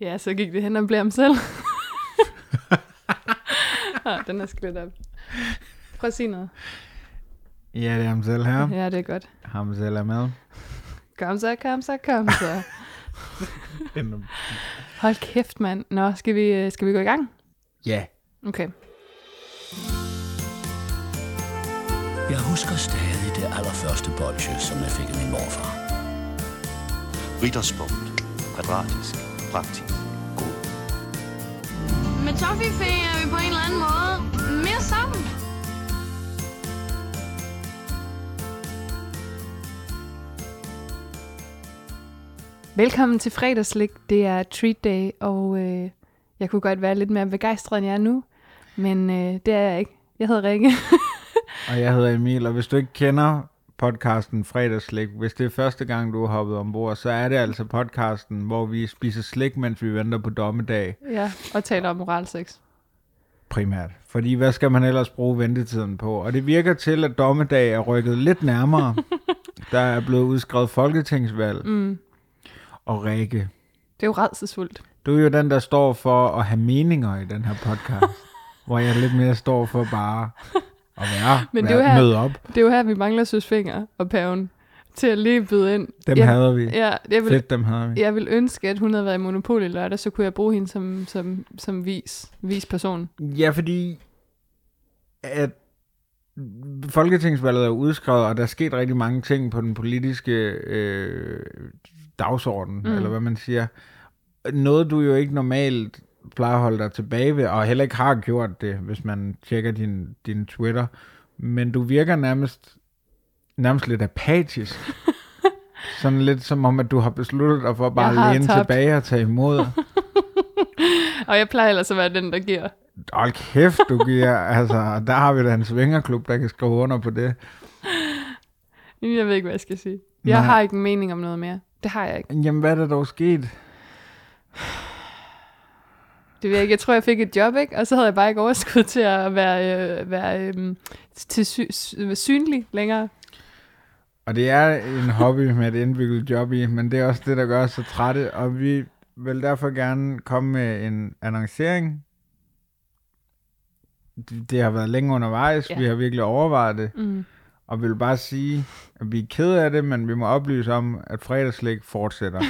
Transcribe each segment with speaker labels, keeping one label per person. Speaker 1: Ja, så gik det hen og blev ham selv. ah, den er sklidt op. Prøv at sige noget.
Speaker 2: Ja, det er ham selv her.
Speaker 1: Ja, det er godt.
Speaker 2: Ham selv er med.
Speaker 1: Kom så, kom så, kom så. Hold kæft, mand. Nå, skal vi, øh, skal vi gå i gang?
Speaker 2: Ja.
Speaker 1: Okay.
Speaker 3: Jeg husker stadig det allerførste bolsje, som jeg fik af min morfar.
Speaker 4: Ritterspunkt. Kvadratisk. Praktisk. God.
Speaker 5: Med Toffifee er vi på en eller anden måde mere sammen.
Speaker 1: Velkommen til fredagslik. Det er treat day, og øh, jeg kunne godt være lidt mere begejstret end jeg er nu, men øh, det er jeg ikke. Jeg hedder Rikke.
Speaker 2: Og jeg hedder Emil, og hvis du ikke kender podcasten Fredagsslik, hvis det er første gang, du er hoppet ombord, så er det altså podcasten, hvor vi spiser slik, mens vi venter på dommedag
Speaker 1: ja, og taler om moralsex.
Speaker 2: primært. Fordi hvad skal man ellers bruge ventetiden på? Og det virker til, at dommedag er rykket lidt nærmere. Der er blevet udskrevet folketingsvalg. Mm. Og Rikke,
Speaker 1: Det er jo redselsfuldt.
Speaker 2: du er jo den, der står for at have meninger i den her podcast, hvor jeg lidt mere står for bare at være,
Speaker 1: Men det er
Speaker 2: være
Speaker 1: jo her-
Speaker 2: møde op.
Speaker 1: Det er jo her, vi mangler søsfinger og paven til at lige byde ind.
Speaker 2: Dem
Speaker 1: jeg,
Speaker 2: hader vi.
Speaker 1: Ja, jeg vil,
Speaker 2: Fedt, dem havde vi.
Speaker 1: jeg vil ønske, at hun havde været i Monopol i lørdag, så kunne jeg bruge hende som, som, som vis, vis person.
Speaker 2: Ja, fordi at Folketingsvalget er udskrevet, og der er sket rigtig mange ting på den politiske øh, dagsorden, mm. eller hvad man siger. Noget, du jo ikke normalt plejer at holde dig tilbage ved, og heller ikke har gjort det, hvis man tjekker din, din Twitter. Men du virker nærmest, nærmest lidt apatisk. Sådan lidt som om, at du har besluttet dig for bare
Speaker 1: har
Speaker 2: at læne
Speaker 1: tabt.
Speaker 2: tilbage og tage imod.
Speaker 1: Og jeg plejer ellers at være den, der giver.
Speaker 2: Hold kæft, du giver. altså, der har vi da en svingerklub, der kan skrive under på det.
Speaker 1: Jeg ved ikke, hvad jeg skal sige. Jeg
Speaker 2: Nej.
Speaker 1: har ikke en mening om noget mere. Det har jeg ikke.
Speaker 2: Jamen, hvad er der dog sket?
Speaker 1: Det ved jeg ikke. Jeg tror, jeg fik et job, ikke? Og så havde jeg bare ikke overskud til at være, øh, være øh, til sy- sy- synlig længere.
Speaker 2: Og det er en hobby med et indbygget job i, men det er også det, der gør os så trætte, og vi vil derfor gerne komme med en annoncering. Det- Det har været længe undervejs,
Speaker 1: Ja.
Speaker 2: ja. vi har virkelig overvejet det,
Speaker 1: Mm.
Speaker 2: og vil bare sige, at vi er ked af det, men vi må oplyse om, at fredagslæg fortsætter.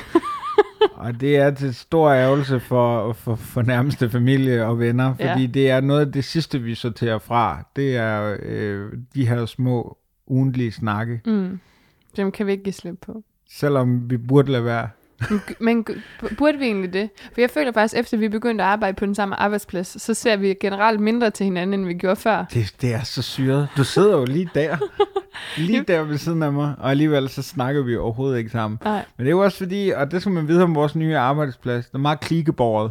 Speaker 2: og det er til stor ærgelse for, for, for nærmeste familie og venner,
Speaker 1: Ja.
Speaker 2: fordi det er noget af det sidste, vi sorterer fra. Det er øh, de her små ugentlige snakke.
Speaker 1: Mm. Dem kan vi ikke give slip på.
Speaker 2: Selvom vi burde lade være.
Speaker 1: Men g- Men g- burde vi egentlig det? For jeg føler faktisk, efter vi begyndte at arbejde på den samme arbejdsplads, så ser vi generelt mindre til hinanden, end vi gjorde før.
Speaker 2: Det, det er så syret. Du sidder jo lige der. Lige der ved siden af mig. Og alligevel så snakker vi overhovedet ikke sammen.
Speaker 1: Nej.
Speaker 2: Men det er jo også fordi, og det skal man vide om vores nye arbejdsplads, det er meget klikkeborget.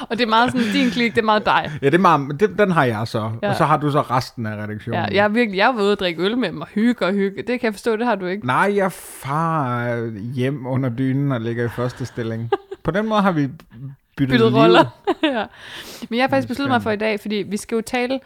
Speaker 1: Og det er meget sådan, din klik, det er meget dig.
Speaker 2: Ja, det er meget, det, den har jeg så.
Speaker 1: Ja.
Speaker 2: Ja. Og så har du så resten af redaktionen.
Speaker 1: Ja, jeg, er virkelig, jeg var ude at drikke øl med dem og hygge og hygge. Det kan jeg forstå, det har du ikke.
Speaker 2: Nej, jeg far hjem under dynen og ligger i første stilling. På den måde har vi byttet,
Speaker 1: byttet
Speaker 2: liv.
Speaker 1: roller. ja. Men jeg har faktisk
Speaker 2: Nå,
Speaker 1: besluttet mig
Speaker 2: spændende.
Speaker 1: for i dag, fordi vi skal jo tale...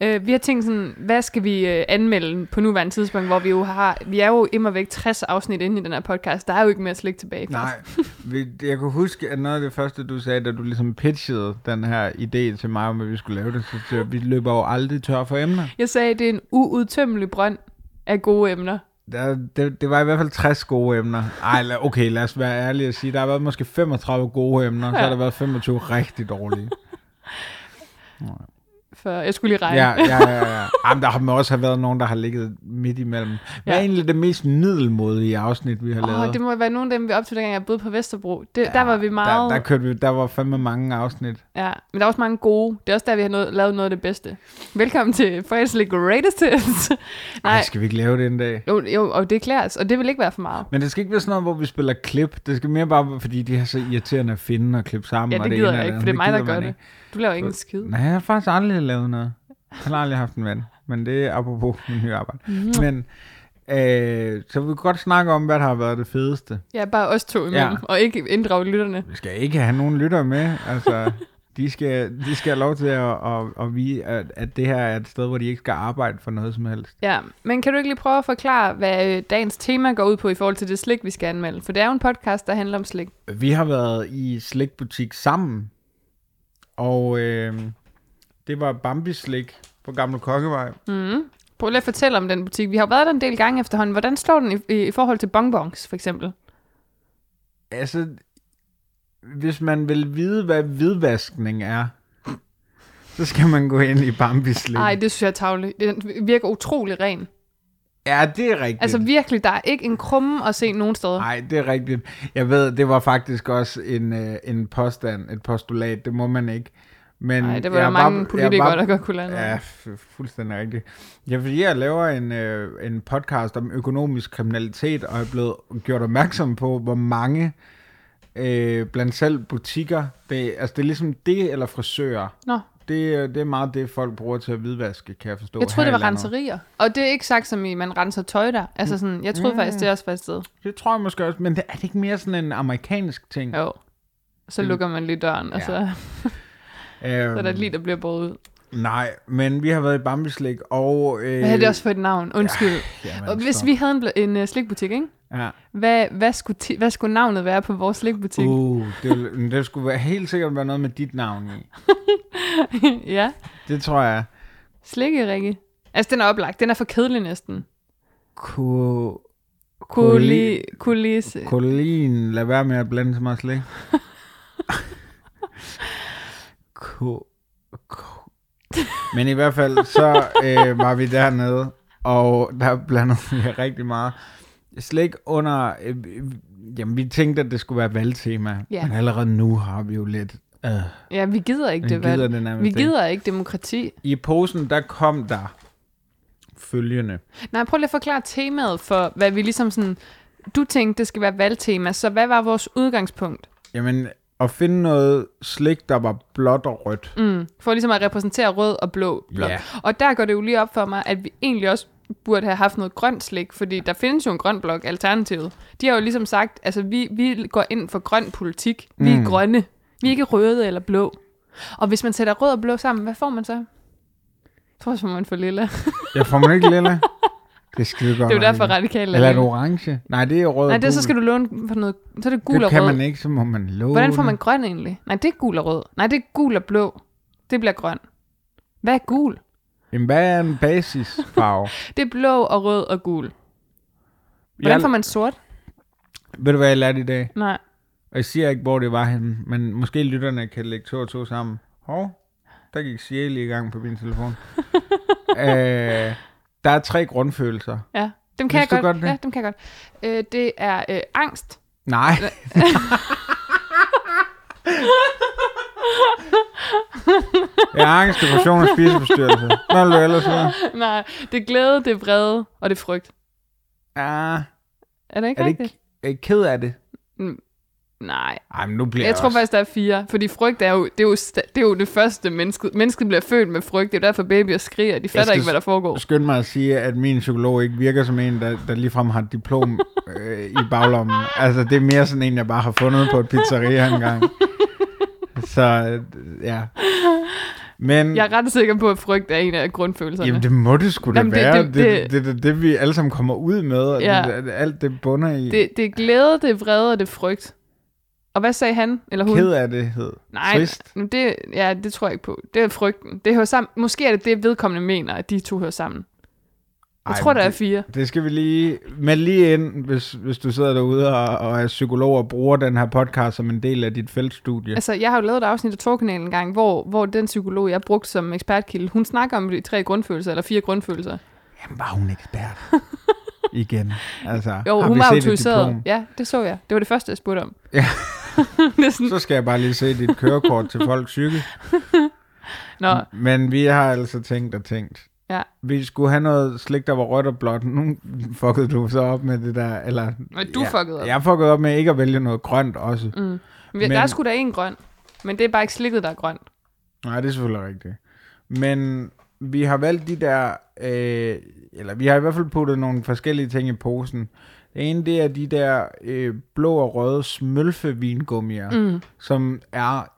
Speaker 1: Øh, vi har tænkt sådan, hvad skal vi øh, anmelde på nuværende tidspunkt, hvor vi jo har... Vi er jo immer væk 60 afsnit inde i den her podcast. Der er jo ikke mere slik tilbage. faktisk.
Speaker 2: Nej, vi- jeg kunne huske, at noget af det første, du sagde, da du ligesom pitchede den her idé til mig, om at vi skulle lave det, så sagde jeg, vi løber jo aldrig tør for emner.
Speaker 1: Jeg sagde, det er en uudtømmelig brønd af gode emner.
Speaker 2: Der, det, det var i hvert fald 60 gode emner. Ej, la- okay, lad os være ærlige og sige, der har været måske 35 gode emner, så har der været 25 rigtig dårlige.
Speaker 1: For jeg skulle lige regne.
Speaker 2: Ja, ja, ja. ja. Jamen, der har må også have været nogen, der har ligget midt imellem. Hvad er
Speaker 1: Ja.
Speaker 2: egentlig det mest middelmodige afsnit, vi har lavet?
Speaker 1: Åh, det må være nogle af dem, vi optog, dengang jeg boede på Vesterbro. Det, ja, der var vi meget...
Speaker 2: Der, der, kørte vi, der var fandme mange afsnit.
Speaker 1: Ja, men der er også mange gode. Det er også der, vi har noget, lavet noget af det bedste. Velkommen til Fredagslig Greatest Hits.
Speaker 2: Ej,
Speaker 1: Nej,
Speaker 2: skal vi ikke lave det en dag?
Speaker 1: jo, jo, og det klæder os, og det vil ikke være for meget.
Speaker 2: Men det skal ikke være sådan noget, hvor vi spiller klip. Det skal mere bare være, fordi de er så irriterende at finde og klippe sammen.
Speaker 1: Ja,
Speaker 2: og
Speaker 1: det gider
Speaker 2: ene og
Speaker 1: jeg ikke, for det er mig, der gør det. Du laver ingen skid.
Speaker 2: gider man ikke. Nej, jeg har faktisk aldrig lavet noget. Jeg har aldrig haft en ven. Men det er apropos min nye arbejde.
Speaker 1: Mhm.
Speaker 2: Men øh, så vi kan godt snakke om, hvad der har været det fedeste.
Speaker 1: Ja, bare os to imellem, ja.
Speaker 2: Ja.
Speaker 1: og ikke inddrage lytterne.
Speaker 2: Vi skal ikke have nogen lytter med. Altså, De skal, de skal have lov til at, at, at vide, at, at det her er et sted, hvor de ikke skal arbejde for noget som helst.
Speaker 1: Ja, men kan du ikke lige prøve at forklare, hvad øh, dagens tema går ud på i forhold til det slik, vi skal anmelde? For det er jo en podcast, der handler om slik.
Speaker 2: Vi har været i slikbutik sammen, og øh, det var Bambi Slik på Gamle Kokkevej.
Speaker 1: Prøv lige at fortælle om den butik. Vi har jo været der en del gange efterhånden. Hvordan slår den i, i, i forhold til bonbons, for eksempel?
Speaker 2: Altså, hvis man vil vide, hvad hvidvaskning er, så skal man gå ind i Bambi Slik.
Speaker 1: Nej, det synes jeg er tavligt. Den virker utrolig ren.
Speaker 2: Ja, det er rigtigt.
Speaker 1: Altså virkelig, der er ikke en krumme at se nogen steder.
Speaker 2: Nej, det er rigtigt. Jeg ved, det var faktisk også en, øh, en påstand, et postulat. Det må man ikke. Men
Speaker 1: Nej, det var
Speaker 2: jeg
Speaker 1: der mange politikere,
Speaker 2: jeg
Speaker 1: der godt kunne lade noget.
Speaker 2: Ja, fu- fuldstændig rigtigt. Ja, fordi jeg laver en, øh, en podcast om økonomisk kriminalitet, og er blevet gjort opmærksom på, hvor mange øh, blandt selv butikker, det, altså det er ligesom det, eller frisører.
Speaker 1: Nå,
Speaker 2: Det, er- det er meget det, folk bruger til at hvidvaske, kan jeg forstå.
Speaker 1: jeg troede,
Speaker 2: her
Speaker 1: det
Speaker 2: i
Speaker 1: var
Speaker 2: landet.
Speaker 1: renserier. Og det er ikke sagt som i, man renser tøj der.
Speaker 2: Mm.
Speaker 1: Altså sådan, jeg troede faktisk, det også var et sted.
Speaker 2: Det tror jeg måske også, men det, er det ikke mere sådan en amerikansk ting?
Speaker 1: Jo. Så lukker man lige døren, og
Speaker 2: Mm. Ja.
Speaker 1: så,
Speaker 2: Øhm,
Speaker 1: så er der lige, der bliver båret ud.
Speaker 2: Nej, men vi har været i Bambislik, og... Øh,
Speaker 1: Hvad havde det også for et navn? Undskyld.
Speaker 2: Jamen,
Speaker 1: Og hvis
Speaker 2: stop.
Speaker 1: vi havde en, bl- en uh, slikbutik, ikke?
Speaker 2: Ja.
Speaker 1: Hvad, hvad, skulle ti- hvad skulle navnet være på vores slikbutik? Uh.
Speaker 2: Uh, det, ville- det skulle være, helt sikkert være noget med dit navn i.
Speaker 1: ja,
Speaker 2: Det tror jeg.
Speaker 1: slikkerikke. Altså, den er oplagt. Den er for kedelig næsten.
Speaker 2: Ko...
Speaker 1: Kuli, kulis.
Speaker 2: Kolin, lad være med at blande så meget slik. ko... ko... Men i hvert fald, så øh, var vi dernede, og der blandede vi rigtig meget slik under... Øh, øh, jamen, vi tænkte, at det skulle være valgtema,
Speaker 1: Ja.
Speaker 2: men allerede nu har vi jo lidt... Øh,
Speaker 1: Ja, vi gider ikke
Speaker 2: Vi
Speaker 1: det, valg.
Speaker 2: gider det nærmest
Speaker 1: Vi
Speaker 2: ikke.
Speaker 1: gider ikke demokrati.
Speaker 2: I posen, der kom der følgende.
Speaker 1: Nej, prøv lige at forklare temaet for, hvad vi ligesom sådan... Du tænkte, det skal være valgtema, så hvad var vores udgangspunkt?
Speaker 2: Jamen, at finde noget slik, der var blåt og rødt. Mm.
Speaker 1: Mm. For ligesom at repræsentere rød og blå blok.
Speaker 2: Ja.
Speaker 1: Og der går det jo lige op for mig, at vi egentlig også burde have haft noget grønt slik, fordi der findes jo en grøn blok, Alternativet. De har jo ligesom sagt, altså vi, vi går ind for grøn politik. Vi
Speaker 2: Mm.
Speaker 1: er grønne. Vi er ikke røde eller blå. Og hvis man sætter rød og blå sammen, hvad får man så? Jeg tror, så får man for lilla. Det
Speaker 2: Jeg får mig ikke lilla. Det er skide godt.
Speaker 1: er jo derfor radikale
Speaker 2: Eller er det
Speaker 1: lilla.
Speaker 2: orange? Nej, det er rød
Speaker 1: Nej,
Speaker 2: og
Speaker 1: det, så
Speaker 2: gul.
Speaker 1: skal du låne for noget. Så er det gul
Speaker 2: det
Speaker 1: og
Speaker 2: kan
Speaker 1: rød.
Speaker 2: man ikke, så må man låne.
Speaker 1: Hvordan får man grøn egentlig? Nej, det er gul og rød. Nej, det er gul og blå. Det bliver grøn. Hvad er gul?
Speaker 2: Jamen, hvad er en basisfarve?
Speaker 1: Det er blå og rød og gul. Hvordan
Speaker 2: jeg,
Speaker 1: får man sort?
Speaker 2: Ved du, hvad jeg lærte i dag?
Speaker 1: Nej.
Speaker 2: Og jeg siger ikke, hvor det var henne, men måske lytterne kan lægge to og to sammen. Hov, der gik Sjæl i gang på min telefon. øh, der er tre grundfølelser.
Speaker 1: Ja, dem kan
Speaker 2: Vidste
Speaker 1: jeg
Speaker 2: du
Speaker 1: godt.
Speaker 2: godt det?
Speaker 1: ja, dem kan jeg godt. Øh, det er øh, angst.
Speaker 2: Nej. jeg har angst, depression og spiseforstyrrelse. Hvad vil du ellers være?
Speaker 1: Nej, det er glæde, det er vrede, og det er frygt.
Speaker 2: Ah,
Speaker 1: Er det ikke
Speaker 2: er det
Speaker 1: rigtigt?
Speaker 2: ikke er I ked af det?
Speaker 1: Nej.
Speaker 2: Ej, men nu bliver
Speaker 1: Jeg, jeg tror
Speaker 2: også...
Speaker 1: faktisk, der er fire. Fordi frygt er jo det, er jo, sta- det, er jo det første, mennesket, mennesket bliver født med frygt. Det er jo derfor, babyer skriger. De fatter
Speaker 2: skal
Speaker 1: ikke, hvad der foregår.
Speaker 2: Skynd mig at sige, at min psykolog ikke virker som en, der, der ligefrem har et diplom øh, i baglommen. Altså, det er mere sådan en, jeg bare har fundet på et pizzeria engang. Så, øh, ja. Men,
Speaker 1: Jeg er ret sikker på, at frygt er en af grundfølelserne.
Speaker 2: jamen, det må det sgu da
Speaker 1: Jamen, det-
Speaker 2: være.
Speaker 1: det-
Speaker 2: Det, det, det, det, det, det, vi alle sammen kommer ud med, og
Speaker 1: Ja.
Speaker 2: ja. det, det, alt det bunder i.
Speaker 1: Det, det er glæde, det er vrede, og det er frygt. Og hvad sagde han? Eller hun?
Speaker 2: Ked af det hed.
Speaker 1: Nej,
Speaker 2: Trist.
Speaker 1: men det, ja, det tror jeg ikke på. Det er frygten. Det hører sammen. Måske er det det, vedkommende mener, at de to hører sammen. Jeg
Speaker 2: Ej,
Speaker 1: tror, der
Speaker 2: det-
Speaker 1: er fire.
Speaker 2: Det skal vi lige... Men lige ind, hvis, hvis du sidder derude og, og er psykolog og bruger den her podcast som en del af dit feltstudie.
Speaker 1: Altså, jeg har jo lavet et afsnit af Torkanalen en gang, hvor, hvor den psykolog, jeg brugte som ekspertkilde, hun snakker om de tre grundfølelser, eller fire grundfølelser.
Speaker 2: Jamen, var hun ekspert? Igen. Altså,
Speaker 1: Jo,
Speaker 2: har
Speaker 1: hun
Speaker 2: vi
Speaker 1: var
Speaker 2: set et
Speaker 1: autoriseret.
Speaker 2: diplom?
Speaker 1: Ja, det så jeg. Det var det første, jeg spurgte om.
Speaker 2: Ja.
Speaker 1: det er sådan,
Speaker 2: Så skal jeg bare lige se dit kørekort til folks psyke.
Speaker 1: nå,
Speaker 2: Men vi har altså tænkt og tænkt.
Speaker 1: ja.
Speaker 2: Vi skulle have noget slik, der var rødt og blåt. Nu fuckede du så op med det der. Eller,
Speaker 1: Men du
Speaker 2: ja,
Speaker 1: fuckede op.
Speaker 2: Jeg fuckede op med ikke at vælge noget grønt også. Mm.
Speaker 1: Men...
Speaker 2: Men-
Speaker 1: Der er sgu da en grøn, men det er bare ikke slikket, der er grøn.
Speaker 2: Nej, det er selvfølgelig rigtigt. Men vi har valgt de der, øh, eller vi har i hvert fald puttet nogle forskellige ting i posen. Det ene, det er
Speaker 1: Mm.
Speaker 2: de der øh, blå og røde smølfevingummier, mm. som er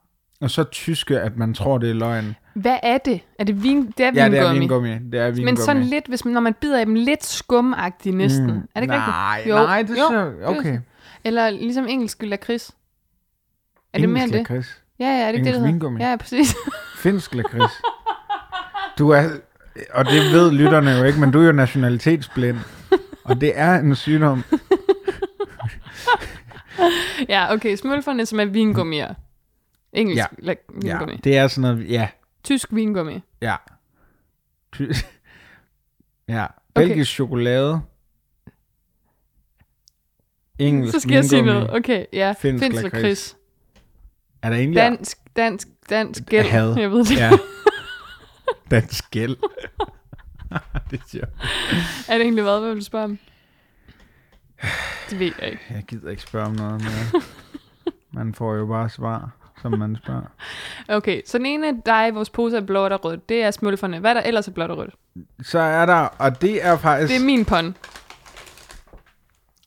Speaker 2: Og så tyske, at man tror, det er løgn.
Speaker 1: Hvad er det? Er det vin? Det er
Speaker 2: Ja, det er
Speaker 1: vingummi.
Speaker 2: vingummi. Det er vingummi.
Speaker 1: Men sådan lidt, hvis man, når man bider af dem, lidt skumagtigt næsten. Mm. Er det ikke
Speaker 2: nej,
Speaker 1: rigtigt?
Speaker 2: nej, det er så-
Speaker 1: det er
Speaker 2: okay.
Speaker 1: sådan. Eller ligesom engelsk lakrids. Er det mere end det?
Speaker 2: Lakrids.
Speaker 1: Ja, ja, er det ikke det,
Speaker 2: Engelsk
Speaker 1: det hedder?
Speaker 2: vingummi.
Speaker 1: Ja, ja, præcis.
Speaker 2: Finsk lakrids. Du er, og det ved lytterne jo ikke, men du er jo nationalitetsblind. Og det er en sygdom.
Speaker 1: ja, okay. Smølferne, som er vingummier. Engelsk
Speaker 2: Ja.
Speaker 1: ja.
Speaker 2: Ja,
Speaker 1: vingummi. Ja.
Speaker 2: det er sådan noget, ja,
Speaker 1: Tysk vingummi.
Speaker 2: ja. Ty- ja, belgisk chokolade. Engelsk
Speaker 1: Så skal jeg sige
Speaker 2: vingummi.
Speaker 1: noget. Okay, ja.
Speaker 2: Finsk
Speaker 1: Finsk, Finsk
Speaker 2: lakrids.
Speaker 1: lakrids.
Speaker 2: Er der egentlig...
Speaker 1: Dansk, dansk, dansk gæld.
Speaker 2: Had.
Speaker 1: Jeg ved det.
Speaker 2: Ja.
Speaker 1: Ja.
Speaker 2: Dansk gæld. det er sjovt.
Speaker 1: er det egentlig hvad, hvad vil du spørge om? Det ved jeg ikke.
Speaker 2: Jeg gider ikke spørge om noget mere. Man får jo bare svar, som man spørger.
Speaker 1: Okay, så den ene, der er i vores pose er blåt og rødt. Det er smølferne. Hvad er der ellers er blåt og rødt?
Speaker 2: Så er der, og det er faktisk...
Speaker 1: Det er min pond.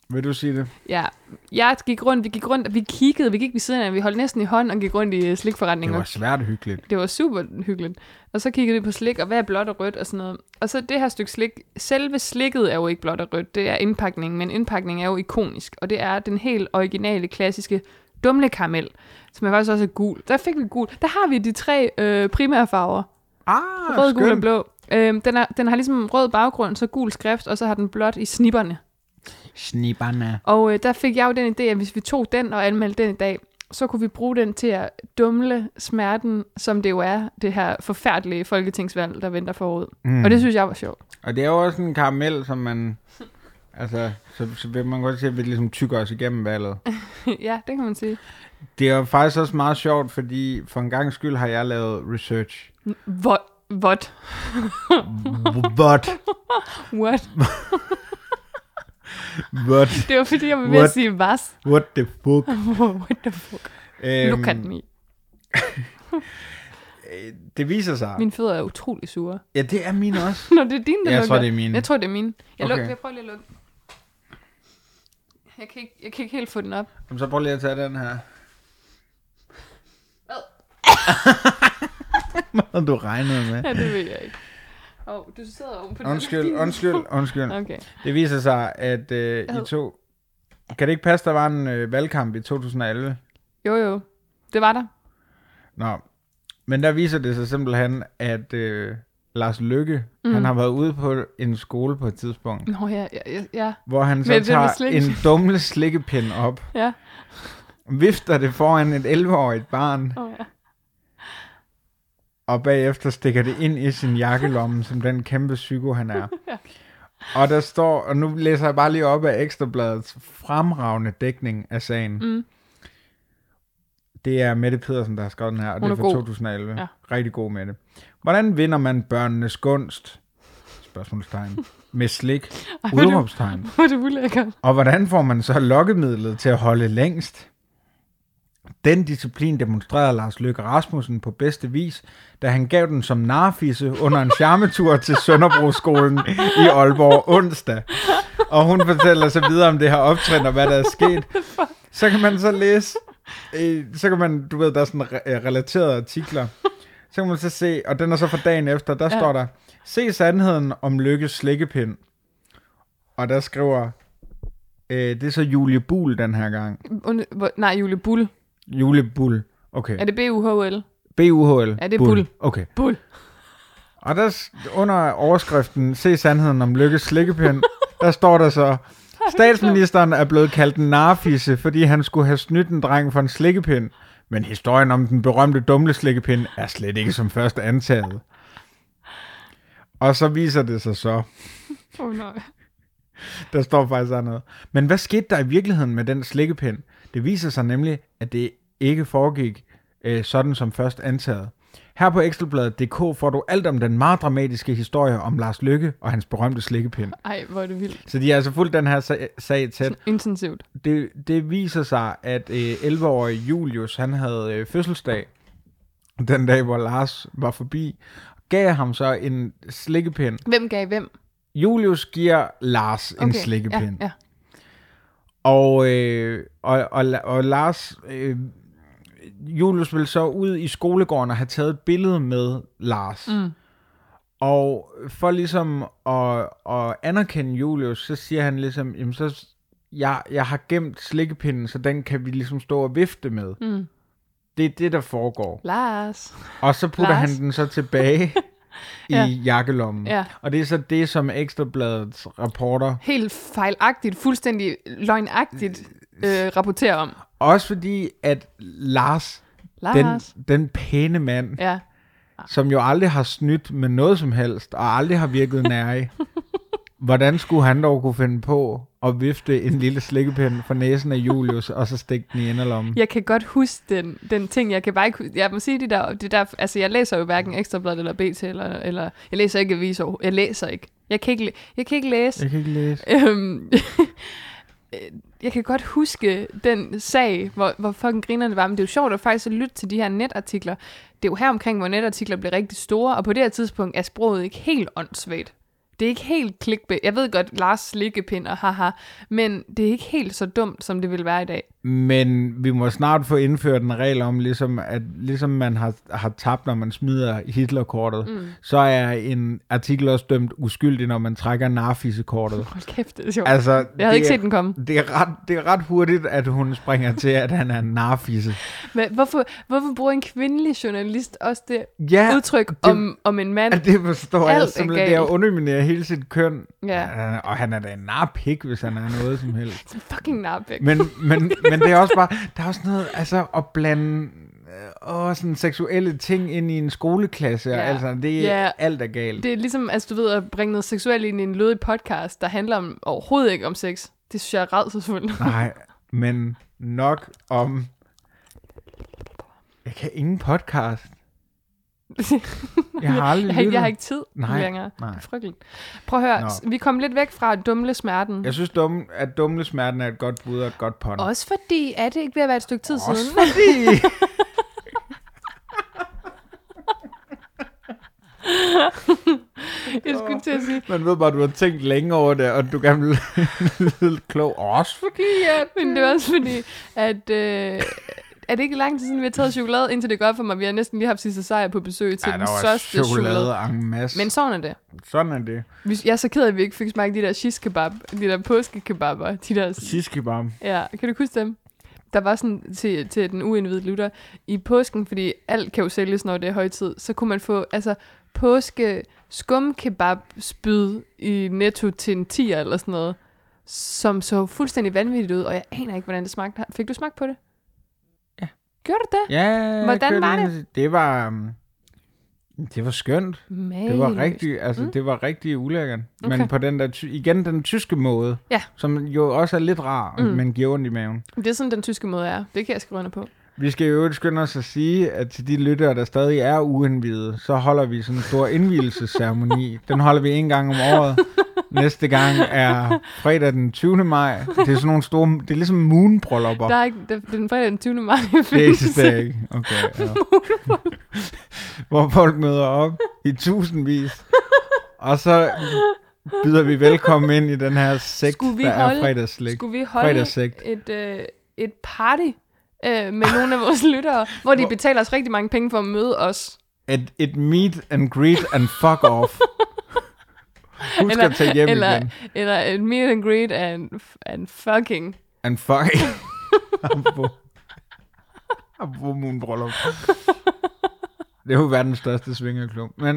Speaker 2: Vil du sige det?
Speaker 1: Ja, jeg gik rundt, vi gik rundt, og vi kiggede, vi gik ved siden af, vi holdt næsten i hånd og gik rundt i øh,
Speaker 2: Det
Speaker 1: slikforretninger.
Speaker 2: var svært hyggeligt.
Speaker 1: det var super hyggeligt. Og så kiggede vi på slik, og hvad er blåt og rødt og sådan noget. Og så det her stykke slik, selve slikket er jo ikke blåt og rødt, det er indpakningen, men indpakningen er jo ikonisk, og det er den helt originale, klassiske dumlekaramel, som er faktisk også er gul. Der fik vi gul. Der har vi de tre øh, primære farver.
Speaker 2: Ah,
Speaker 1: Rød, gul og
Speaker 2: skønt.
Speaker 1: blå. Øhm, den, er, den har ligesom rød baggrund, så gul skrift, og så har den blåt i snipperne.
Speaker 2: Snipperne.
Speaker 1: Og øh, der fik jeg jo den idé, at hvis vi tog den og anmeldte den i dag, så kunne vi bruge den til at dumle smerten, som det jo er, det her forfærdelige folketingsvalg, der venter forud. Mm. Og det synes jeg var sjovt.
Speaker 2: Og det er jo også en karamel, som man... Altså, så, så vil man godt se, at vi ligesom tykker os igennem valget.
Speaker 1: ja, det kan man sige.
Speaker 2: Det er jo faktisk også meget sjovt, fordi for en gang skyld har jeg lavet research.
Speaker 1: Hvor, what?
Speaker 2: What?
Speaker 1: What?
Speaker 2: What?
Speaker 1: Det var fordi, jeg var ved
Speaker 2: What?
Speaker 1: at sige, was?
Speaker 2: What the fuck?
Speaker 1: What the fuck?
Speaker 2: Øhm,
Speaker 1: Look at me.
Speaker 2: det viser sig.
Speaker 1: Mine fødder er utrolig sure.
Speaker 2: Ja, det er min også.
Speaker 1: Nå, det er dine, der
Speaker 2: Jeg
Speaker 1: lukker.
Speaker 2: tror, det er mine.
Speaker 1: Jeg tror, det er mine. Jeg,
Speaker 2: Okay.
Speaker 1: okay. luk, jeg prøver lige at lukke. Jeg kan, ikke, jeg kan ikke helt få den op.
Speaker 2: Jamen, så prøv lige at tage den her. Hvad du regnede med?
Speaker 1: Ja, det ved jeg ikke. Åh, oh, du sidder oven på den.
Speaker 2: Undskyld, undskyld, undskyld.
Speaker 1: Okay.
Speaker 2: Det viser sig, at øh, I to... Kan det ikke passe, der var en øh, valgkamp i 2011?
Speaker 1: Jo, jo. Det var der.
Speaker 2: Nå. Men der viser det sig simpelthen, at øh, Lars Lykke, mm. han har været ude på en skole på et tidspunkt,
Speaker 1: Nå, ja, ja, ja, ja.
Speaker 2: hvor han så
Speaker 1: Med den med
Speaker 2: tager
Speaker 1: slik.
Speaker 2: en dumle slikkepind op,
Speaker 1: ja.
Speaker 2: vifter det foran et 11-årigt barn,
Speaker 1: Åh, ja.
Speaker 2: og bagefter stikker det ind i sin jakkelomme, som den kæmpe psyko, han er.
Speaker 1: Ja.
Speaker 2: Og der står, og nu læser jeg bare lige op af Ekstrabladets fremragende dækning af sagen.
Speaker 1: Mm.
Speaker 2: Det er Mette Pedersen, der har skrevet den her, og
Speaker 1: Hun
Speaker 2: det er
Speaker 1: er god.
Speaker 2: fra 2011.
Speaker 1: Ja.
Speaker 2: Rigtig god med det. Hvordan vinder man børnenes gunst? Spørgsmålstegn. Med slik.
Speaker 1: hvor er det-
Speaker 2: Udråbstegn.
Speaker 1: Hvor er det ulækkert.
Speaker 2: Og hvordan får man så lokkemidlet til at holde længst? Den disciplin demonstrerede Lars Løkke Rasmussen på bedste vis, da han gav den som narfisse under en charmetur til Sønderbroskolen i Aalborg onsdag. Og hun fortæller så videre om det her optrin og hvad der er sket. Så kan man så læse, øh, så kan man, du ved, der er sådan re- øh, relaterede artikler. Så kan man så se, og den er så fra dagen efter, der ja. står der, se sandheden om Lykkes slikkepind. Og der skriver, øh, det er så Julie Buhl den her gang.
Speaker 1: Und, hvor, nej, Julie Bull.
Speaker 2: Julie Bull. Okay.
Speaker 1: Er det B-U-H-L?
Speaker 2: B-U-H-L?
Speaker 1: Ja, det er Bull.
Speaker 2: Okay.
Speaker 1: Bull.
Speaker 2: Og der s- under overskriften Se sandheden om Lykkes slikkepind, der står der så, statsministeren er blevet kaldt en narfisse, fordi han skulle have snydt en dreng for en slikkepind. Men historien om den berømte dumle slikkepind er slet ikke som først antaget. Og så viser det sig så,
Speaker 1: Åh, oh, nej.
Speaker 2: der står faktisk sådan noget. Men hvad skete der i virkeligheden med den slikkepind? Det viser sig nemlig, at det ikke foregik øh, sådan som først antaget. Her på ekstrabladet.dk får du alt om den meget dramatiske historie om Lars Lykke og hans berømte slikkepind.
Speaker 1: Ej, hvor er det vildt.
Speaker 2: Så de har altså fulgt den her sag, sag tæt.
Speaker 1: Intensivt.
Speaker 2: Det, det viser sig, at øh, 11-årig Julius, han havde øh, fødselsdag den dag, hvor Lars var forbi, gav ham så en slikkepind.
Speaker 1: Hvem gav hvem?
Speaker 2: Julius giver Lars okay. en slikkepind.
Speaker 1: Ja, ja.
Speaker 2: Og, øh, og, og, og Lars øh, Julius ville så ud i skolegården og have taget et billede med Lars. Mm. Og for ligesom at, at anerkende Julius, så siger han ligesom, jamen så, jeg, jeg har gemt slikkepinden, så den kan vi ligesom stå og vifte med. Mm. Det er det, der foregår.
Speaker 1: Lars.
Speaker 2: Og så putter
Speaker 1: Lars.
Speaker 2: han den så tilbage i
Speaker 1: Ja.
Speaker 2: jakkelommen.
Speaker 1: Ja.
Speaker 2: Og det er så det, som Ekstrabladets rapporter
Speaker 1: Helt fejlagtigt, fuldstændig løgnagtigt øh, rapporterer om.
Speaker 2: Også fordi, at Lars,
Speaker 1: Ah, Lars. Den...
Speaker 2: Den, den pæne mand, ja.
Speaker 1: Ja.
Speaker 2: som jo aldrig har snydt med noget som helst, og aldrig har virket nærig, hvordan skulle han dog kunne finde på at vifte en lille slikkepind fra næsen af Julius, og så stikke den i inderlommen?
Speaker 1: Jeg kan godt huske den, den ting. Jeg kan bare ikke, hu- jeg må sige, det der, det der, altså jeg læser jo hverken Ekstrabladet eller BT, eller, eller jeg læser ikke aviser. overho- Jeg læser ikke. Jeg kan ikke, læ- jeg kan ikke læse.
Speaker 2: Jeg kan ikke læse.
Speaker 1: Øhm, jeg kan godt huske den sag, hvor, hvor fucking griner det var, men det er jo sjovt at faktisk at lytte til de her netartikler. Det er jo her omkring, hvor netartikler bliver rigtig store, og på det her tidspunkt er sproget ikke helt åndssvagt. Det er ikke helt clickbait. Jeg ved godt, Lars slikkepind og haha, men det er ikke helt så dumt, som det ville være i dag.
Speaker 2: Men vi må snart få indført en regel om, ligesom at ligesom man har, har tabt, når man smider Hitlerkortet, mm. så er en artikel også dømt uskyldig, når man trækker narfisekortet.
Speaker 1: Hold kæft, det er sjovt.
Speaker 2: Altså,
Speaker 1: Jeg havde ikke set den komme.
Speaker 2: Det er, ret, det er ret hurtigt, at hun springer til, at han er en narfisse.
Speaker 1: Men hvorfor, hvorfor bruger en kvindelig journalist også det
Speaker 2: Ja,
Speaker 1: udtryk
Speaker 2: det- Altså,
Speaker 1: om, om en mand?
Speaker 2: At det
Speaker 1: Alt
Speaker 2: forstår Alt
Speaker 1: er
Speaker 2: jeg simpelthen. Det er at underminere hele sit køn.
Speaker 1: Ja.
Speaker 2: Øh, Og han er da en narpik, hvis han er noget som helst.
Speaker 1: Fucking narbæk.
Speaker 2: Men, men, men det er også bare, der er også noget, altså at blande øh, åh, sådan seksuelle ting ind i en skoleklasse. Ja.
Speaker 1: Ja.
Speaker 2: Altså, det er
Speaker 1: Ja.
Speaker 2: alt er galt. Det...
Speaker 1: Det er ligesom, altså du ved, at bringe noget seksuelt ind i en lødig podcast, der handler om, overhovedet ikke om sex. Det synes jeg er rædselsfuldt.
Speaker 2: Nej, men nok om... Jeg kan ingen podcast. Jeg har aldrig
Speaker 1: jeg, har, ikke- jeg har
Speaker 2: lyttet.
Speaker 1: ikke tid
Speaker 2: Nej,
Speaker 1: længere. Det
Speaker 2: nej.
Speaker 1: er frygteligt. Prøv at høre,
Speaker 2: Nå.
Speaker 1: vi kom lidt væk fra dumle smerten.
Speaker 2: Jeg synes, dumme, at dumle smerten er et godt bud og et godt pun.
Speaker 1: Også fordi, er det ikke ved at være et stykke tid
Speaker 2: Også
Speaker 1: siden?
Speaker 2: fordi...
Speaker 1: Jeg skulle til at sige,
Speaker 2: Man ved bare, at du har tænkt længe over det, og du gerne vil lyde klog. Også fordi...
Speaker 1: ja, men det er også fordi, at... Øh, er det ikke lang tid siden, vi har taget chokolade, indtil det går op for mig? Vi har næsten lige haft sidste sejr på besøg til
Speaker 2: Ja, der
Speaker 1: den
Speaker 2: var
Speaker 1: største chokolade. chokolade.
Speaker 2: chokolade en masse. Men...
Speaker 1: Men sådan er det.
Speaker 2: Sådan er det.
Speaker 1: Vi- Jeg er så ked af, at vi ikke fik smagt de der shish-kebab, de der påskekebabber, de der
Speaker 2: Siskebam.
Speaker 1: Ja, kan du huske dem? Der var sådan til, til den uindvidede lytter i påsken, fordi alt kan jo sælges, når det er højtid, så kunne man få altså påske skumkebab spyd i netto til en 10 eller sådan noget, som så fuldstændig vanvittigt ud, og jeg aner ikke, hvordan det smagte. Fik du smagt på det? Ja. Gjorde du det?
Speaker 2: Ja, jeg
Speaker 1: Hvordan
Speaker 2: kørte
Speaker 1: var
Speaker 2: lige ind i- Det var... um, Det var skønt.
Speaker 1: Mageløst.
Speaker 2: Det var rigtig, altså, mm. det var rigtig ulækkert. Okay. Men på den der, ty- igen den tyske måde,
Speaker 1: Ja.
Speaker 2: som jo også er lidt rar, mm. men giver ondt i maven.
Speaker 1: Det er sådan, den tyske måde er. Det kan jeg skrive under på.
Speaker 2: Vi skal jo øvrigt skynde os at sige, at til de lyttere, der stadig er uindvidede, så holder vi sådan en stor indvielsesceremoni. Den holder vi en gang om året. Næste gang er fredag den 20. maj. Det er sådan nogle store... Det er ligesom moonbryllupper.
Speaker 1: Der er ikke, det, det er den fredag den 20. maj.
Speaker 2: Det eksisterer ikke. Okay, ja. Hvor folk møder op i tusindvis. Og så byder vi velkommen ind i den her sekt,
Speaker 1: Skulle vi
Speaker 2: der
Speaker 1: holde-
Speaker 2: er fredagslæg.
Speaker 1: Skulle vi holde
Speaker 2: Fredagssigt.
Speaker 1: et, øh, et party øh, med nogle af vores lyttere, hvor de
Speaker 2: Hvor-
Speaker 1: betaler os rigtig mange penge for at møde os?
Speaker 2: Et, et meet and greet and fuck off. Husk eller, at tage hjem
Speaker 1: eller,
Speaker 2: igen.
Speaker 1: Eller et meet and greet af en, af en fucking...
Speaker 2: And fuck. Apropos- Apropos moonbryllup. Det er jo verdens største svingerklub. Men,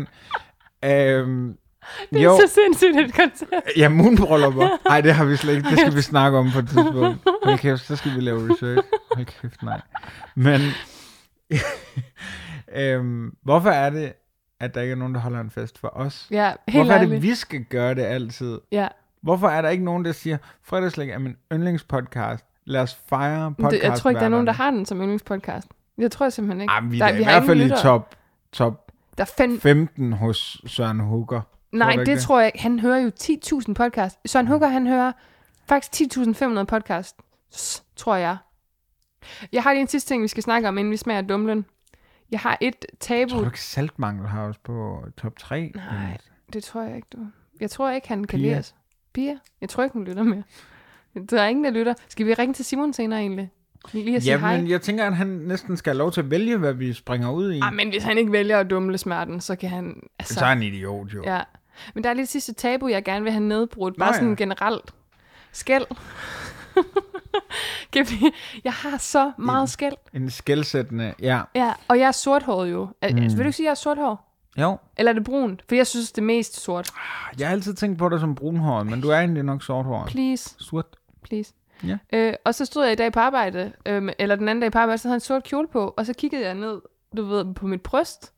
Speaker 2: øhm,
Speaker 1: Det er
Speaker 2: jo,
Speaker 1: så sindssygt et koncept.
Speaker 2: ja, moonbryllupper. Nej, det har vi slet ikke. Det skal vi snakke om på et tidspunkt. Hold kæft, så skal vi lave research. Hold kæft, nej. Men, øhm, hvorfor er det, at der ikke er nogen, der holder en fest for os?
Speaker 1: Ja, helt
Speaker 2: Hvorfor er det,
Speaker 1: ærligt.
Speaker 2: vi skal gøre det altid?
Speaker 1: Ja,
Speaker 2: Hvorfor er der ikke nogen, der siger, fredagslæg er min yndlingspodcast, lad os fejre
Speaker 1: Men det,
Speaker 2: podcast
Speaker 1: jeg tror ikke, der er nogen, der har den som yndlingspodcast. Jeg tror simpelthen ikke.
Speaker 2: Jamen, vi er
Speaker 1: der,
Speaker 2: da i hvert
Speaker 1: ingen
Speaker 2: fald i
Speaker 1: lyttere.
Speaker 2: top, top
Speaker 1: Der fand...
Speaker 2: 15 hos Søren Hugger.
Speaker 1: Nej,
Speaker 2: du
Speaker 1: det,
Speaker 2: ikke
Speaker 1: det
Speaker 2: det?
Speaker 1: tror jeg ikke. Han hører jo 10.000 podcast. Søren Hugger, han hører faktisk 10.500 podcast, tror jeg. Jeg har lige en sidste ting, vi skal snakke om, inden vi smager dumlen. Jeg har et tabu.
Speaker 2: Tror du ikke, saltmangel har os på top 3?
Speaker 1: Nej, det tror jeg ikke, du. Jeg tror ikke, han kan
Speaker 2: Pia.
Speaker 1: lide os. Pia? Jeg tror ikke, hun lytter mere. Der er ingen, der lytter. Skal vi ringe til Simon senere egentlig? Lige at sige hej.
Speaker 2: Jamen, øh, jeg tænker, at han næsten skal have lov til at vælge, hvad vi springer ud i.
Speaker 1: Ah, men hvis han ikke vælger at dumle smerten, så kan han... Altså,
Speaker 2: Så er han en idiot, jo.
Speaker 1: ja. Men der er lige et sidste tabu, jeg gerne vil have nedbrudt. Bare
Speaker 2: Nå,
Speaker 1: sådan
Speaker 2: ja.
Speaker 1: generelt. Skæld. Kan vi- jeg har så meget skæld.
Speaker 2: En skældsættende, ja.
Speaker 1: Ja, og jeg er sorthåret jo. Al-
Speaker 2: Mm.
Speaker 1: Vil du ikke sige, at jeg er sorthåret?
Speaker 2: Jo.
Speaker 1: Eller er det brunt? For jeg synes, det er mest sort.
Speaker 2: Jeg har altid tænkt på dig som brunhåret, men du er egentlig nok sorthåret.
Speaker 1: Please,
Speaker 2: Sort.
Speaker 1: please.
Speaker 2: Ja.
Speaker 1: Øh, og så stod jeg i dag på arbejde, øhm, eller den anden dag på arbejde, så havde han en sort kjole på, og så kiggede jeg ned, du ved, på mit bryst,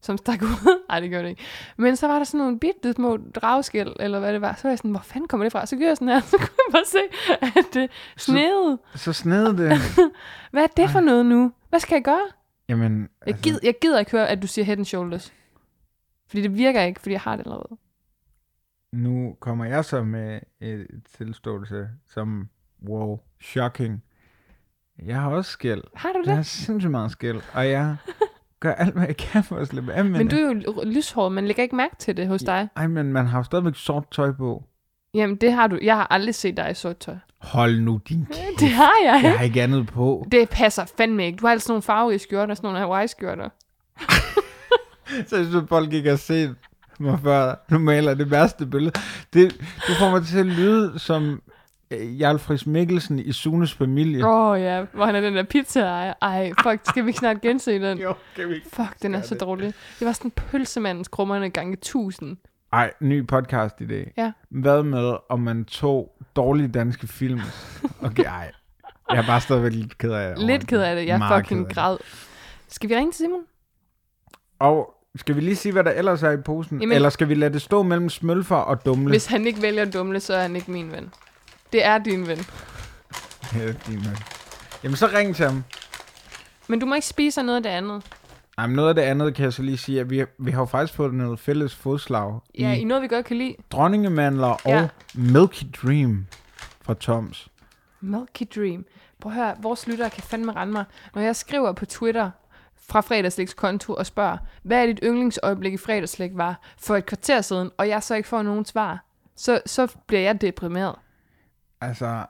Speaker 1: som stak ud. Nej, det gjorde det ikke. Men så var der sådan nogle bitte små dragskæl, eller hvad det var. Så var jeg sådan, hvor fanden kommer det fra? Så gjorde jeg sådan her, så kunne jeg bare se, at det sneede.
Speaker 2: Så snede det.
Speaker 1: Hvad er det for noget nu? Hvad skal jeg gøre?
Speaker 2: Jamen, altså,
Speaker 1: Jeg, gid, jeg gider ikke høre, at du siger head and shoulders. Fordi det virker ikke, fordi jeg har det allerede.
Speaker 2: nu kommer jeg så med et tilståelse, som, wow, shocking. Jeg har også skæld.
Speaker 1: Har du det?
Speaker 2: Jeg har sindssygt meget skæld, og jeg gør alt, hvad jeg kan for at slippe af med
Speaker 1: Men
Speaker 2: det.
Speaker 1: du er jo lyshåret, man lægger ikke mærke til det hos dig.
Speaker 2: Ej, men man har jo stadigvæk sort tøj på.
Speaker 1: Jamen, det har du. Jeg har aldrig set dig i sort tøj.
Speaker 2: Hold nu din kæft.
Speaker 1: Det har jeg
Speaker 2: Jeg
Speaker 1: ikke.
Speaker 2: har ikke andet på.
Speaker 1: Det passer fandme ikke. Du har altid sådan nogle farverige skjorter, sådan nogle Hawaii-skjorter.
Speaker 2: Så jeg synes, folk ikke har set mig før. Nu maler jeg det værste billede. Det, du får mig til at lyde som øh, Jarl Friis Mikkelsen i Sunes familie.
Speaker 1: Åh oh, ja, hvor han er den der pizza -ejer. Ej, fuck, skal vi ikke snart gense den?
Speaker 2: Jo, kan vi ikke?
Speaker 1: Fuck, den er så dårlig. Det var sådan pølsemandens krummerne gange tusind.
Speaker 2: Ej, ny podcast i dag.
Speaker 1: Ja.
Speaker 2: Hvad med, om man tog dårlige danske film? Okay, ej. Jeg er bare stadigvæk lidt ked af det.
Speaker 1: Lidt ked af det. Jeg
Speaker 2: Meget ked af
Speaker 1: fucking
Speaker 2: det.
Speaker 1: græd. Skal vi ringe til Simon?
Speaker 2: Og skal vi lige sige, hvad der ellers er i posen?
Speaker 1: Jamen-
Speaker 2: Jamen. Eller skal vi lade det stå mellem smølfer og dumle?
Speaker 1: Hvis han ikke vælger at dumle, så er han ikke min ven. Det er din ven.
Speaker 2: Ja, din mand. Jamen, så ring til ham.
Speaker 1: Men du må ikke spise af noget af det andet.
Speaker 2: Jamen, noget af det andet kan jeg så lige sige, at vi, vi har jo faktisk fået noget fælles fodslag
Speaker 1: Ja,
Speaker 2: i
Speaker 1: i noget, vi godt kan lide.
Speaker 2: dronningemandler
Speaker 1: Ja.
Speaker 2: og Milky Dream fra Toms.
Speaker 1: Milky Dream. Prøv at høre, vores lyttere kan fandme rende mig. Når jeg skriver på Twitter fra fredagslægs konto og spørger, hvad er dit yndlingsøjeblik i fredagslæg var for et kvarter siden, og jeg så ikke får nogen svar, så, så bliver jeg deprimeret.
Speaker 2: Altså,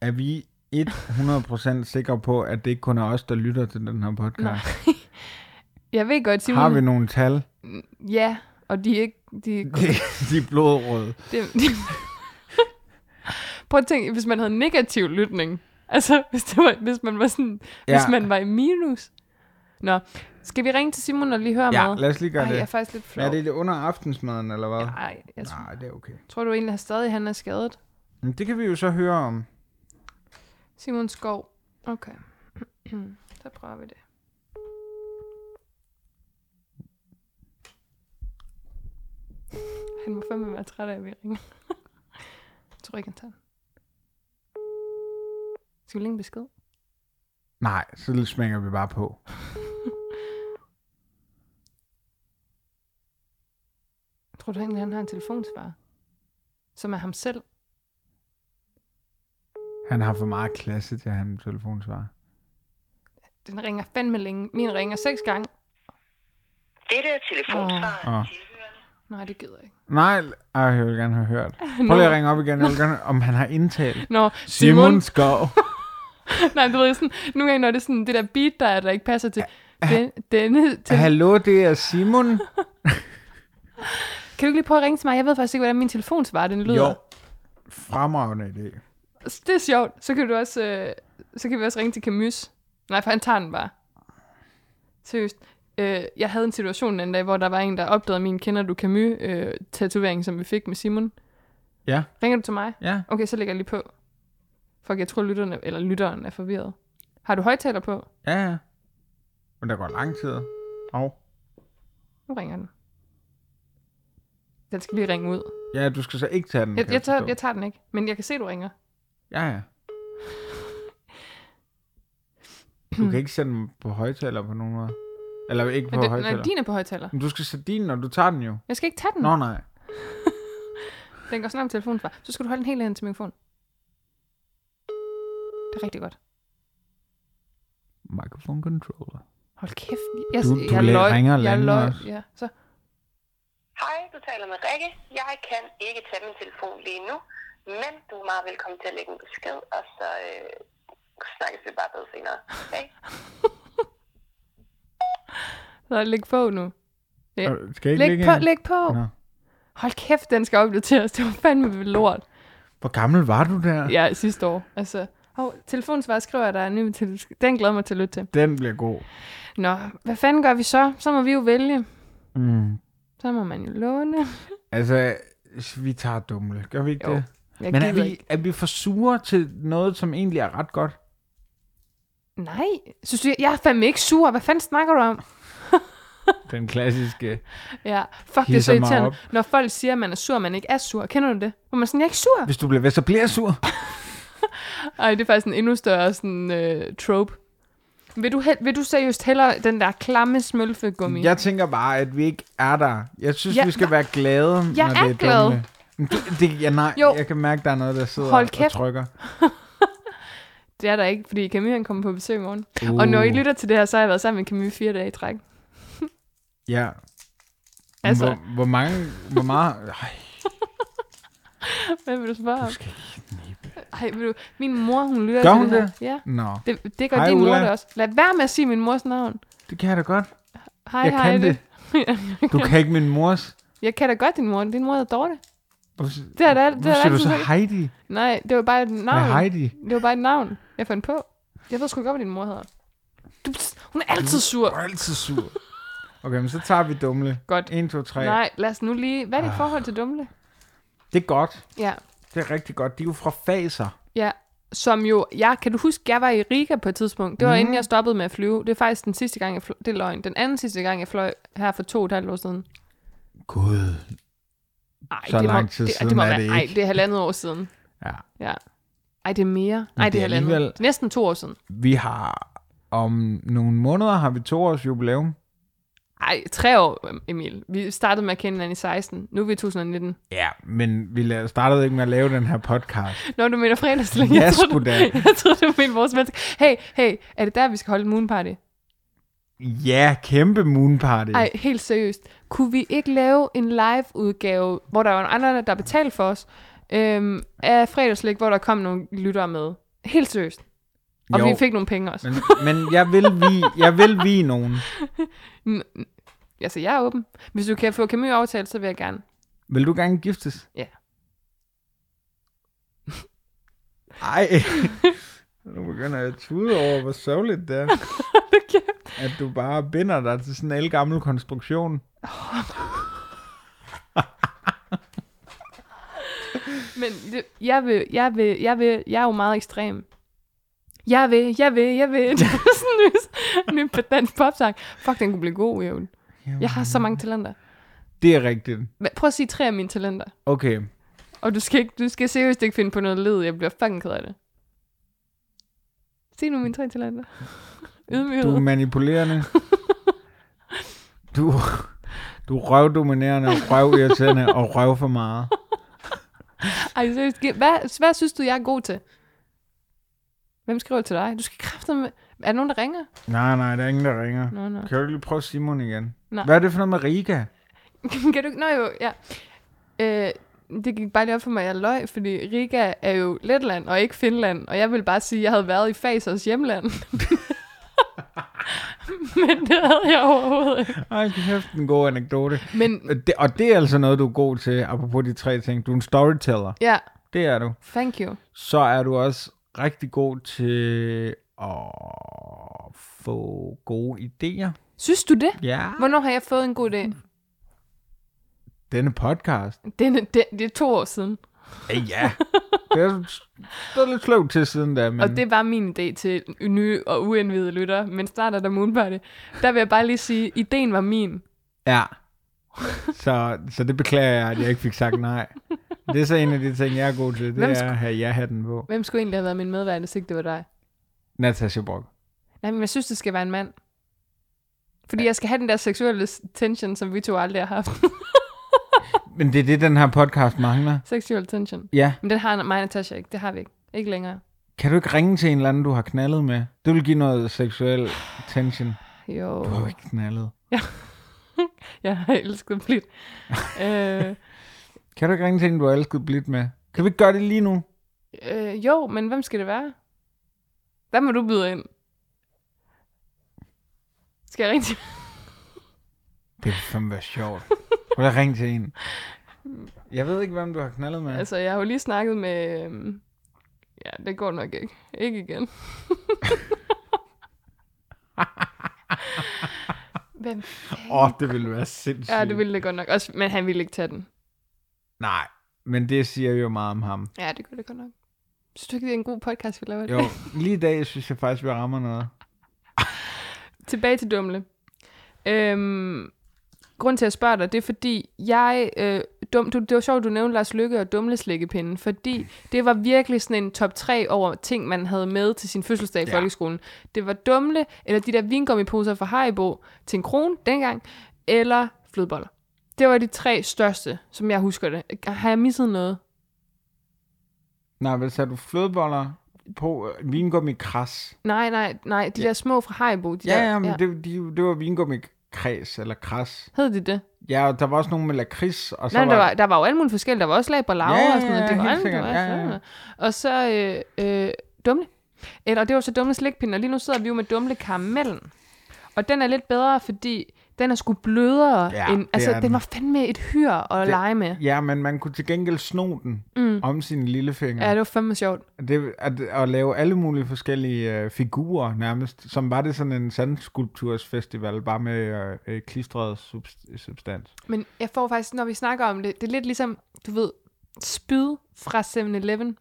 Speaker 2: er vi 100% sikre på, at det ikke kun er os, der lytter til den her podcast?
Speaker 1: Jeg ved godt, Simon...
Speaker 2: Har vi nogle tal?
Speaker 1: Ja, og de er ikke... De,
Speaker 2: De, de er blodrøde.
Speaker 1: de, de... Prøv at tænke, hvis man havde negativ lytning. Altså, hvis, det var, hvis, man, var sådan, ja. hvis
Speaker 2: Ja.
Speaker 1: man var i minus. Nå, skal vi ringe til Simon og lige høre
Speaker 2: Ja,
Speaker 1: med?
Speaker 2: lad os lige gøre
Speaker 1: Ej, jeg er
Speaker 2: det.
Speaker 1: faktisk lidt flov.
Speaker 2: Er det det under aftensmaden, eller hvad?
Speaker 1: Nej, jeg tror-
Speaker 2: Nej, det er okay.
Speaker 1: Tror du egentlig, at stadig han er skadet?
Speaker 2: Men det kan vi jo så høre om.
Speaker 1: Simon Skov. Okay. så prøver vi det. Han må fandme være træt af, at vi ringer. jeg tror ikke, han tager den. Skal vi længe besked?
Speaker 2: Nej, så smænger vi bare på.
Speaker 1: Tror du egentlig, han har en telefonsvar? Som er ham selv?
Speaker 2: Han har for meget klasse til at have en telefonsvar.
Speaker 1: Den ringer fandme længe. Min ringer seks gange.
Speaker 6: Dette er telefonsvaren
Speaker 2: Åh. Åh.
Speaker 6: oh. tilhørende.
Speaker 1: Nej, det gider jeg ikke.
Speaker 2: Nej, ej, jeg vil gerne have hørt. Prøv lige at ringe op igen, jeg vil gerne høre, om han har indtalt.
Speaker 1: Nå,
Speaker 2: Simon Skov.
Speaker 1: Nej, du ved sådan, nogle gange, når det er sådan, det der beat, der er, der ikke passer til den, denne... Til,
Speaker 2: Hallo, det er Simon.
Speaker 1: kan du ikke lige prøve at ringe til mig? Jeg ved faktisk ikke, hvordan min telefonsvar den lyder.
Speaker 2: Fremragende idé.
Speaker 1: Så Det er sjovt. Så kan, du også, øh, så kan vi også ringe til Camus. Nej, for han tager den bare. Seriøst. Øh, jeg havde en situation den anden dag, hvor der var en, der opdagede min Kender du Camus-tatovering, som vi fik med Simon.
Speaker 2: Ja.
Speaker 1: Ringer du til mig?
Speaker 2: Ja.
Speaker 1: Okay, så lægger jeg lige på. Fuck, jeg tror, lytterne, eller lytteren er forvirret. Har du højtaler på?
Speaker 2: Ja, ja. Men der går lang tid. Og.
Speaker 1: Nu ringer den. Den skal lige ringe ud.
Speaker 2: Ja, du skal så ikke tage den.
Speaker 1: Jeg,
Speaker 2: kan
Speaker 1: jeg, tager,
Speaker 2: forstå.
Speaker 1: jeg tager den ikke, men jeg kan se, du ringer.
Speaker 2: Ja, ja. Du kan ikke sætte den på højtaler på nogen måde. Eller ikke på
Speaker 1: Men det, nej,
Speaker 2: højtaler.
Speaker 1: din Hmm. er på højtaler.
Speaker 2: Men du skal sætte din, når du tager den jo.
Speaker 1: Jeg skal ikke tage den.
Speaker 2: Nå, nej.
Speaker 1: Den går snart om telefonen fra. Så skal du holde den helt hen til min telefon. Det er rigtig godt.
Speaker 2: Microphone controller.
Speaker 1: Hold kæft. Jeg,
Speaker 2: Du- du la- ringer og
Speaker 1: jeg
Speaker 2: lander
Speaker 1: løg.
Speaker 2: også.
Speaker 1: Ja, så.
Speaker 6: Hej, du taler med Rikke. Jeg kan ikke tage min telefon lige nu, men du er meget velkommen til at lægge en besked, og så øh, snakkes vi bare ved senere. Okay?
Speaker 1: Så læg på nu. Ja.
Speaker 2: Øh, Skal jeg ikke
Speaker 1: Læg
Speaker 2: lægge
Speaker 1: på,
Speaker 2: en?
Speaker 1: læg på.
Speaker 2: Nå.
Speaker 1: Hold kæft, den skal opdateres. Det var fandme lort.
Speaker 2: Hvor gammel var du der?
Speaker 1: Ja, sidste år. Altså, og telefonsvar skriver, at der er en ny telefon. Den glæder jeg mig til at lytte til.
Speaker 2: Den bliver god.
Speaker 1: Nå, hvad fanden gør vi så? Så må vi jo vælge. Hmm.
Speaker 2: Mm.
Speaker 1: Så må man jo låne.
Speaker 2: Altså, vi tager dumle. Gør vi ikke
Speaker 1: Jo, Jeg
Speaker 2: det? Men
Speaker 1: Men
Speaker 2: er
Speaker 1: gider vi...
Speaker 2: vi,
Speaker 1: ikke.
Speaker 2: er vi for sure til noget, som egentlig er ret godt?
Speaker 1: Nej, synes du, jeg er fandme ikke sur. Hvad fanden snakker du om?
Speaker 2: Den klassiske.
Speaker 1: Ja, fuck, det er
Speaker 2: Hisser
Speaker 1: så
Speaker 2: mig
Speaker 1: irriterende,
Speaker 2: op.
Speaker 1: når folk siger, at man er sur, man ikke er sur. Kender du det? Hvor man er sådan, jeg er ikke sur.
Speaker 2: Hvis du bliver ved, så bliver jeg sur.
Speaker 1: Ej, det er faktisk en endnu større sådan, øh, trope. Vil du, hel- vil du seriøst hellere den der klamme smølfegummi?
Speaker 2: Jeg tænker bare, at vi ikke er der. Jeg synes,
Speaker 1: Ja,
Speaker 2: vi skal være glade,
Speaker 1: Jeg
Speaker 2: når
Speaker 1: er
Speaker 2: det er
Speaker 1: glad.
Speaker 2: dumle. Men Det, det, ja, nej,
Speaker 1: Jo.
Speaker 2: jeg kan mærke, der er noget, der sidder
Speaker 1: Hold
Speaker 2: og
Speaker 1: kæft.
Speaker 2: trykker.
Speaker 1: Det er der ikke, fordi Camille han kommer på besøg i morgen. Uh. Og når I lytter til det her, så har jeg været sammen med Camille fire dage i træk.
Speaker 2: Ja.
Speaker 1: Altså.
Speaker 2: Hvor, hvor mange, hvor meget... Ej,
Speaker 1: Hvad vil du spørge om?
Speaker 2: du skal ikke knippe.
Speaker 1: Ej, vil du... Min mor, hun lytter
Speaker 2: Gør
Speaker 1: til
Speaker 2: hun
Speaker 1: det,
Speaker 2: det?
Speaker 1: Her. Ja,
Speaker 2: Nå,
Speaker 1: det, det gør
Speaker 2: Hej,
Speaker 1: din mor
Speaker 2: Ulla.
Speaker 1: det også. Lad være med at sige min mors navn.
Speaker 2: det kan jeg da godt.
Speaker 1: Hej,
Speaker 2: jeg
Speaker 1: hej.
Speaker 2: kan
Speaker 1: det.
Speaker 2: det. Du kan ikke min mors...
Speaker 1: Jeg kan da godt din mor. Din mor hedder Dorte.
Speaker 2: Hvorfor,
Speaker 1: Det er da alt- det er da
Speaker 2: siger du
Speaker 1: altid
Speaker 2: så
Speaker 1: sådan.
Speaker 2: Heidi?
Speaker 1: Nej, det var bare et navn.
Speaker 2: Nej, Heidi.
Speaker 1: Det var bare et navn, jeg fandt på. Jeg ved sgu ikke, hvad din mor hedder. Du, hun er altid sur.
Speaker 2: Du er altid sur. Okay, men så tager vi dumle.
Speaker 1: Godt.
Speaker 2: 1, 2, 3.
Speaker 1: Nej, lad os nu lige... Hvad er
Speaker 2: Ah.
Speaker 1: dit forhold til Dumle?
Speaker 2: Det er godt.
Speaker 1: Ja.
Speaker 2: Det er rigtig godt. De er jo fra faser.
Speaker 1: Ja, som jo, jeg kan du huske, jeg var i Riga på et tidspunkt. Det var mm. inden jeg stoppede med at flyve. Det er faktisk den sidste gang, jeg fløj, det er løgn. Den anden sidste gang, jeg fløj her for to og et halvt år siden.
Speaker 2: Gud.
Speaker 1: Ej,
Speaker 2: Så
Speaker 1: det
Speaker 2: lang
Speaker 1: må,
Speaker 2: tid
Speaker 1: det,
Speaker 2: siden
Speaker 1: det må
Speaker 2: er
Speaker 1: være,
Speaker 2: det
Speaker 1: Ej,
Speaker 2: ikke.
Speaker 1: det er halvandet år siden.
Speaker 2: Ja.
Speaker 1: ja. Ej, det er mere. Ej, det,
Speaker 2: det
Speaker 1: det
Speaker 2: er
Speaker 1: er halvandet.
Speaker 2: alligevel-
Speaker 1: Alligevel... Næsten to år siden.
Speaker 2: Vi har om nogle måneder har vi to års jubilæum.
Speaker 1: Ej, tre år, Emil. Vi startede med at kende hinanden i 16. Nu er vi i 2019.
Speaker 2: Ja, men vi la- startede ikke med at lave den her podcast.
Speaker 1: Når du mener fredagslæg.
Speaker 2: Ja,
Speaker 1: jeg
Speaker 2: sgu
Speaker 1: troede,
Speaker 2: da.
Speaker 1: jeg troede, du mente vores menneske. Hey, hey, er det der, vi skal holde moon party?
Speaker 2: Ja, kæmpe moon party.
Speaker 1: Ej, helt seriøst. Kunne vi ikke lave en live-udgave, hvor der var en anden, der betalte for os, øhm, af fredagslæg, hvor der kom nogle lyttere med? Helt seriøst. Og
Speaker 2: Jo,
Speaker 1: jo. vi fik nogle penge også.
Speaker 2: Men, men jeg vil vi, jeg vil vi nogen.
Speaker 1: Altså, jeg er åben. Hvis du kan få Camille aftalt, så vil jeg gerne.
Speaker 2: Vil du gerne giftes?
Speaker 1: Ja.
Speaker 2: Ej. Nu begynder jeg at tude over, hvor sørgeligt det er, at du bare binder dig til sådan en elgammel konstruktion.
Speaker 1: Men det, jeg vil, jeg vil, jeg vil, jeg er jo meget ekstrem. Jeg vil, jeg vil, jeg vil. Det er sådan en ny, ny dansk popsang. Fuck, den kunne blive god, Jævn. Jeg har så mange talenter.
Speaker 2: Det er rigtigt.
Speaker 1: Hva- Prøv at sige tre af mine talenter.
Speaker 2: Okay.
Speaker 1: Og du skal, ikke, du skal seriøst ikke finde på noget led. Jeg bliver fucking ked af det. Se nu mine tre talenter.
Speaker 2: Du er
Speaker 1: Ydmyghed.
Speaker 2: manipulerende. Du, du er røvdominerende, røvirriterende og røv for meget.
Speaker 1: Ej, seriøst. giv- Hvad, hvad synes du, jeg er god til? Hvem skriver til dig? Du skal kræfte med... Er der nogen, der ringer?
Speaker 2: Nej, nej, der er ingen, der ringer.
Speaker 1: Nå, nå.
Speaker 2: Kan du lige prøve Simon igen?
Speaker 1: Nej.
Speaker 2: Hvad er det for noget med Riga?
Speaker 1: kan du ikke? Nå jo, ja. Øh, det gik bare lige op for mig, at jeg løg, fordi Riga er jo Letland og ikke Finland, og jeg ville bare sige, at jeg havde været i Fasers hjemland. Men det havde jeg overhovedet ikke.
Speaker 2: Ej, kæft, en god anekdote.
Speaker 1: Men
Speaker 2: Og Det, og det er altså noget, du er god til, apropos de tre ting. Du er en storyteller.
Speaker 1: ja,
Speaker 2: Det er du.
Speaker 1: thank you.
Speaker 2: Så er du også rigtig god til at få gode idéer.
Speaker 1: Synes du det?
Speaker 2: Ja.
Speaker 1: Hvornår har jeg fået en god idé?
Speaker 2: Denne podcast.
Speaker 1: Det, er- det, det er to år siden,
Speaker 2: Ja, ja. Det er, det er lidt sløvt til siden da, men...
Speaker 1: og det var min idé til nye og uindvidede lytter, men snart er der Moonparty. Der vil jeg bare lige sige, at ideen var min.
Speaker 2: Ja. Så, så det beklager jeg, at jeg ikke fik sagt nej. Det er så en af de ting, jeg er god til. Det
Speaker 1: Hvem
Speaker 2: er at have ja-hatten på.
Speaker 1: Hvem skulle egentlig have været min medvært, hvis ikke det var dig?
Speaker 2: Natasha Brock.
Speaker 1: Nej, men jeg synes, det skal være en mand. Fordi jeg skal have den der seksuelle s- tension, som vi to aldrig har haft.
Speaker 2: Men det er det, den her podcast mangler.
Speaker 1: Seksuel tension.
Speaker 2: Ja.
Speaker 1: Men den har mig og Natasha ikke. Det har vi ikke. Ikke længere.
Speaker 2: Kan du ikke ringe til en eller anden, du har knaldet med? Det vil give noget seksuel tension.
Speaker 1: Jo.
Speaker 2: Du har jo ikke knaldet.
Speaker 1: Jeg har elsket blidt. øh,
Speaker 2: Kan du ikke ringe til en, du har elsket blidt med? Kan vi ikke gøre det lige nu?
Speaker 1: øh, jo, men hvem skal det være? Hvad må du byde ind? Skal jeg ringe til...
Speaker 2: Det ville fandme være sjovt. Prøv at ringe til en. Jeg ved ikke, hvem du har knaldet med. Altså,
Speaker 1: Altså, jeg har jo lige snakket med... øhm, Ja, det går nok ikke. Ikke igen. Hvem?
Speaker 2: Åh, oh, det ville være sindssygt.
Speaker 1: Ja, det ville det godt nok. Også, men han ville ikke tage den.
Speaker 2: Nej, men det siger jo meget om ham.
Speaker 1: Ja, det gør det godt nok. Synes du ikke, det er en god podcast, vi laver?
Speaker 2: Jo, lige i dag synes jeg faktisk, vi rammer noget.
Speaker 1: Tilbage til Dumle. Øhm, grunden til, at jeg spørger dig, det er fordi, jeg... Øh, dum, du, det var sjovt, du nævnte Lars Lykke og Dumle slikkepinden, fordi det var virkelig sådan en top 3 over ting, man havde med til sin fødselsdag i ja. folkeskolen. Det var Dumle, eller de der vingummiposer fra Haribo til en krone dengang, eller flødeboller. Det var de tre største, som jeg husker det. Har jeg misset noget?
Speaker 2: Nej, hvad sagde du? Flødeboller på øh, vingummi kras.
Speaker 1: Nej, nej, nej. De ja. der små fra Haribo. De
Speaker 2: Ja,
Speaker 1: der,
Speaker 2: ja, men ja. Det, de, det var vingummi kreds eller kras.
Speaker 1: Hed de det?
Speaker 2: Ja, og der var også nogle med lakrids, og så
Speaker 1: Nej, men
Speaker 2: var...
Speaker 1: der, var, der var jo alle mulige forskellige. Der var også lag på laver
Speaker 2: Ja,
Speaker 1: og sådan
Speaker 2: ja,
Speaker 1: noget. Det var
Speaker 2: helt
Speaker 1: alle, der
Speaker 2: sikkert.
Speaker 1: var,
Speaker 2: Ja, ja.
Speaker 1: ja, ja. Og så øh, øh, dumle. Eller, og det var så dumle slikpinde, og lige nu sidder vi jo med dumle karamellen. Og den er lidt bedre, fordi den er sgu blødere.
Speaker 2: Ja,
Speaker 1: end,
Speaker 2: det
Speaker 1: altså,
Speaker 2: er
Speaker 1: den.
Speaker 2: den.
Speaker 1: var fandme et hyr at det, lege med.
Speaker 2: Ja, men man kunne til gengæld sno den mm. om sine lillefinger.
Speaker 1: Ja, det var fandme sjovt.
Speaker 2: Det, at, at lave alle mulige forskellige øh, figurer nærmest, som var det sådan en sandskulptursfestival, bare med øh, øh, klistret subst- substans.
Speaker 1: Men jeg får faktisk, når vi snakker om det, det er lidt ligesom, du ved, spyd fra 7-Eleven.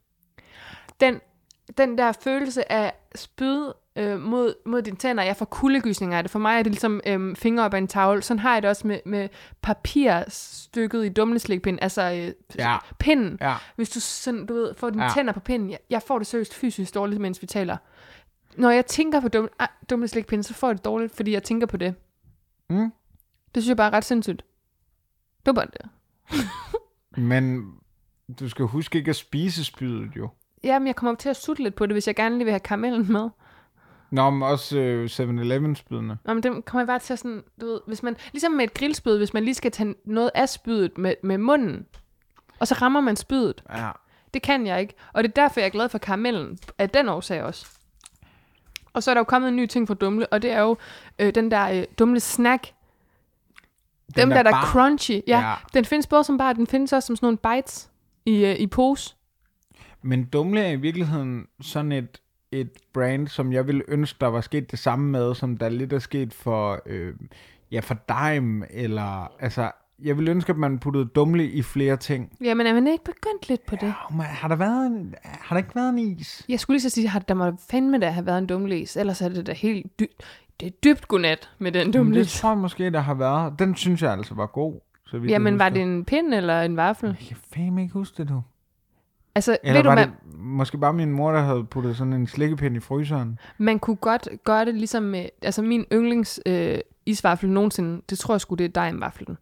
Speaker 1: Den, den der følelse af spyd øh, mod, mod dine tænder, jeg får kuldegysninger af det. For mig er det ligesom øh, fingre op ad en tavle. Sådan har jeg det også med, med papirstykket i dumleslikpind, altså øh,
Speaker 2: Ja.
Speaker 1: pinden.
Speaker 2: Ja.
Speaker 1: Hvis du, sådan, du ved, får dine
Speaker 2: Ja.
Speaker 1: ja. tænder på pinden, jeg, jeg får det seriøst fysisk dårligt, mens vi taler. Når jeg tænker på dum, ah, dumleslikpind, så får jeg det dårligt, fordi jeg tænker på det.
Speaker 2: Mm.
Speaker 1: Det synes jeg bare er ret sindssygt. Det var bare det.
Speaker 2: Men du skal huske ikke at spise spydet jo.
Speaker 1: Jamen, jeg kommer til at sutte lidt på det, hvis jeg gerne lige vil have karamellen med.
Speaker 2: Nå, men også øh, 7-Eleven-spydene.
Speaker 1: Nå, men den kommer jeg bare til at sådan, du ved, hvis man, ligesom med et grillspyd, hvis man lige skal tage noget af spydet med, med munden, og så rammer man spydet.
Speaker 2: Ja.
Speaker 1: Det kan jeg ikke. Og det er derfor, jeg er glad for karamellen, af den årsag også. Og så er der jo kommet en ny ting fra Dumle, og det er jo øh, den der øh, Dumle snack. Den Dem der, der er
Speaker 2: bar.
Speaker 1: crunchy. Ja,
Speaker 2: Ja.
Speaker 1: ja, den findes både som bare, den findes også som sådan nogle bites i, øh, i pose.
Speaker 2: Men Dumle er i virkeligheden sådan et, et brand, som jeg ville ønske, der var sket det samme med, som der lidt er sket for, øh, ja, for Dime, eller, altså, jeg ville ønske, at man puttede Dumle i flere ting.
Speaker 1: Jamen, er man ikke begyndt lidt på det?
Speaker 2: Oh, man, har, der været en, har der ikke været en is?
Speaker 1: Jeg skulle lige så sige, at der må fandme da have været en dumlæs, ellers er det da helt dy- det er dybt godnat med den
Speaker 2: Dumle. Det
Speaker 1: dumlæs.
Speaker 2: tror jeg måske, der har været. Den synes jeg altså var god. Så vidt jeg
Speaker 1: Jamen, var
Speaker 2: husker.
Speaker 1: det en pind eller en vaffel?
Speaker 2: Jeg kan fandme ikke huske det, du.
Speaker 1: Altså,
Speaker 2: Eller
Speaker 1: ved du,
Speaker 2: var
Speaker 1: man,
Speaker 2: det måske bare min mor, der havde puttet sådan en slikkepind i fryseren?
Speaker 1: man kunne godt gøre det ligesom med, altså min yndlings øh, isvaffel nogensinde, det tror jeg sgu, det er dejmvaflen.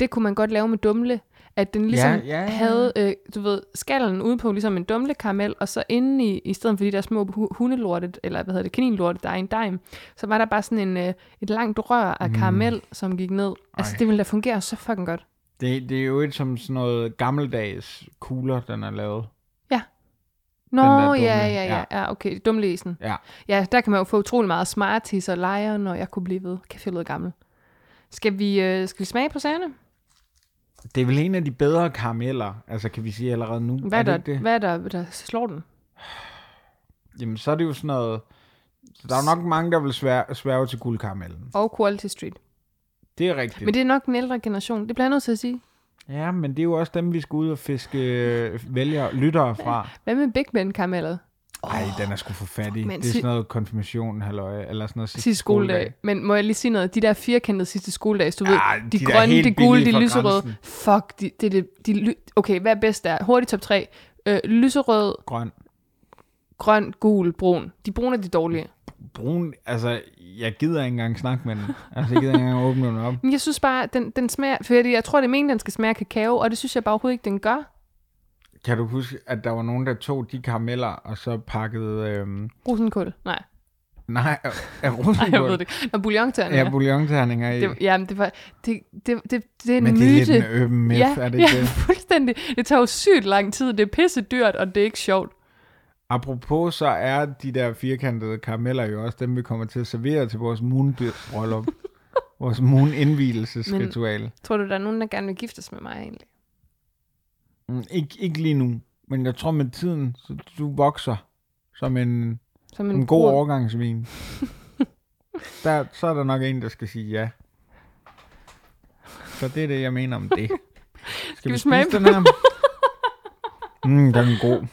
Speaker 1: Det kunne man godt lave med dumle, at den ligesom ja,
Speaker 2: ja,
Speaker 1: ja,
Speaker 2: ja.
Speaker 1: ja. havde, øh, du ved, skallen ude på ligesom en dumlekaramel, og så inde i, i stedet for de der små hu- hundelorte, eller hvad hedder det, kaninlorte, der er i en dejm, så var der bare sådan en, øh, et langt rør af karamel, som gik ned. Altså,
Speaker 2: Ej.
Speaker 1: det ville da fungere så fucking godt.
Speaker 2: Det, det er jo et som sådan noget gammeldags kugler, den er lavet.
Speaker 1: Nå,
Speaker 2: der
Speaker 1: ja,
Speaker 2: dumme,
Speaker 1: ja, ja,
Speaker 2: ja.
Speaker 1: ja, okay, dumlæsen.
Speaker 2: Ja.
Speaker 1: Ja, der kan man jo få utrolig meget smarties og lejer, når jeg kunne blive ved. Kæft, jeg lyder gammel. Skal vi, øh, skal vi smage på sagerne?
Speaker 2: Det er vel en af de bedre karameller, altså kan vi sige allerede nu.
Speaker 1: Hvad er,
Speaker 2: det
Speaker 1: der,
Speaker 2: ikke det?
Speaker 1: hvad er der, der slår den?
Speaker 2: Jamen, så er det jo sådan noget... Der er jo nok mange, der vil svær, sværge til guldkaramellen.
Speaker 1: Og Quality Street.
Speaker 2: Det er rigtigt.
Speaker 1: Men det er nok den ældre generation. Det bliver jeg nødt til at sige.
Speaker 2: Ja, men det er jo også dem, vi skal ud og fiske øh, vælgere lyttere fra.
Speaker 1: Hvad med Big Ben karamellet?
Speaker 2: Ej, den er sgu for fattig.
Speaker 1: men
Speaker 2: det er
Speaker 1: si-
Speaker 2: sådan noget konfirmation, halløj, eller sådan noget sidste,
Speaker 1: Sidste skoledag. Men må jeg lige sige noget? De der firkantede sidste skoledag, du ved,
Speaker 2: Ah,
Speaker 1: de,
Speaker 2: de
Speaker 1: de
Speaker 2: der
Speaker 1: grønne,
Speaker 2: helt
Speaker 1: de gule,
Speaker 2: billige
Speaker 1: de
Speaker 2: fra
Speaker 1: lyserøde.
Speaker 2: grænsen.
Speaker 1: Fuck, de, de, de, de, ly- Okay, hvad er bedst der? Hurtigt top 3. Øh, lyserød,
Speaker 2: Grøn.
Speaker 1: grøn, gul, brun. De brune er de dårlige.
Speaker 2: Brun, altså, jeg gider ikke engang snakke med den. Altså, jeg gider ikke engang åbne den op.
Speaker 1: Men jeg synes bare, den, den smager, fordi jeg tror, det er meningen, den skal smage af kakao, og det synes jeg bare overhovedet ikke, den gør.
Speaker 2: Kan du huske, at der var nogen, der tog de karameller, og så pakkede... Øhm,
Speaker 1: Rosenkål. Nej,
Speaker 2: nej, øh, er
Speaker 1: nej jeg ved
Speaker 2: rosenkål?
Speaker 1: det ikke. Og bouillon-tærne.
Speaker 2: Ja, bouillonterninger i.
Speaker 1: det, jamen, det, var, det, det, det, det er en
Speaker 2: Men det
Speaker 1: myte.
Speaker 2: er lidt en øben mef,
Speaker 1: ja,
Speaker 2: er det ikke
Speaker 1: ja,
Speaker 2: det?
Speaker 1: fuldstændig. Det tager jo sygt lang tid, det er pisse dyrt, og det er ikke sjovt.
Speaker 2: Apropos, så er de der firkantede karameller jo også dem, vi kommer til at servere til vores moonbryllup. vores moon-indvielsesritual.
Speaker 1: Tror du, der er nogen, der gerne vil giftes med mig egentlig?
Speaker 2: Men... Mm, Ikke, ikke lige nu, men jeg tror med tiden, så du vokser som en,
Speaker 1: Som
Speaker 2: en god
Speaker 1: bror.
Speaker 2: overgangsvin. der, så er der nok en, der skal sige ja. Så det er det, jeg mener om det. Skal,
Speaker 1: vi smage
Speaker 2: den her? Mm, den er god.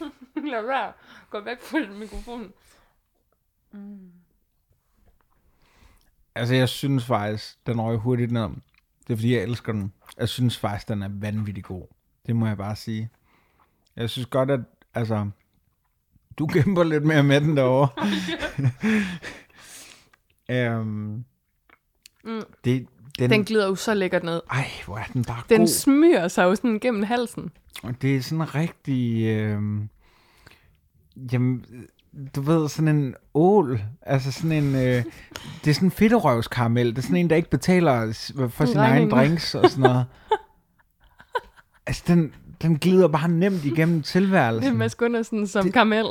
Speaker 1: Lad være. Gå væk fra den mikrofon.
Speaker 2: Altså, jeg synes faktisk, den røg hurtigt ned. Det er, fordi jeg elsker den. Jeg synes faktisk, den er vanvittig god. Det må jeg bare sige. Jeg synes godt, at... Altså, du kæmper lidt mere med den derovre. um,
Speaker 1: Mm.
Speaker 2: det, den,
Speaker 1: Den
Speaker 2: den...
Speaker 1: glider jo så lækkert ned.
Speaker 2: Ej, hvor er den bare
Speaker 1: Den
Speaker 2: god.
Speaker 1: smyger sig jo sådan gennem halsen.
Speaker 2: Og det er sådan rigtig... Øh, jamen, du ved, sådan en ål. Altså sådan en... Øh, det er sådan en fedterøvskaramel. Det er sådan en, der ikke betaler s- for sin egen
Speaker 1: Regningen.
Speaker 2: drinks og sådan noget. altså, den, den glider bare nemt igennem
Speaker 1: Det er
Speaker 2: tilværelsen.
Speaker 1: Mads Gunnarsen som det... karamel.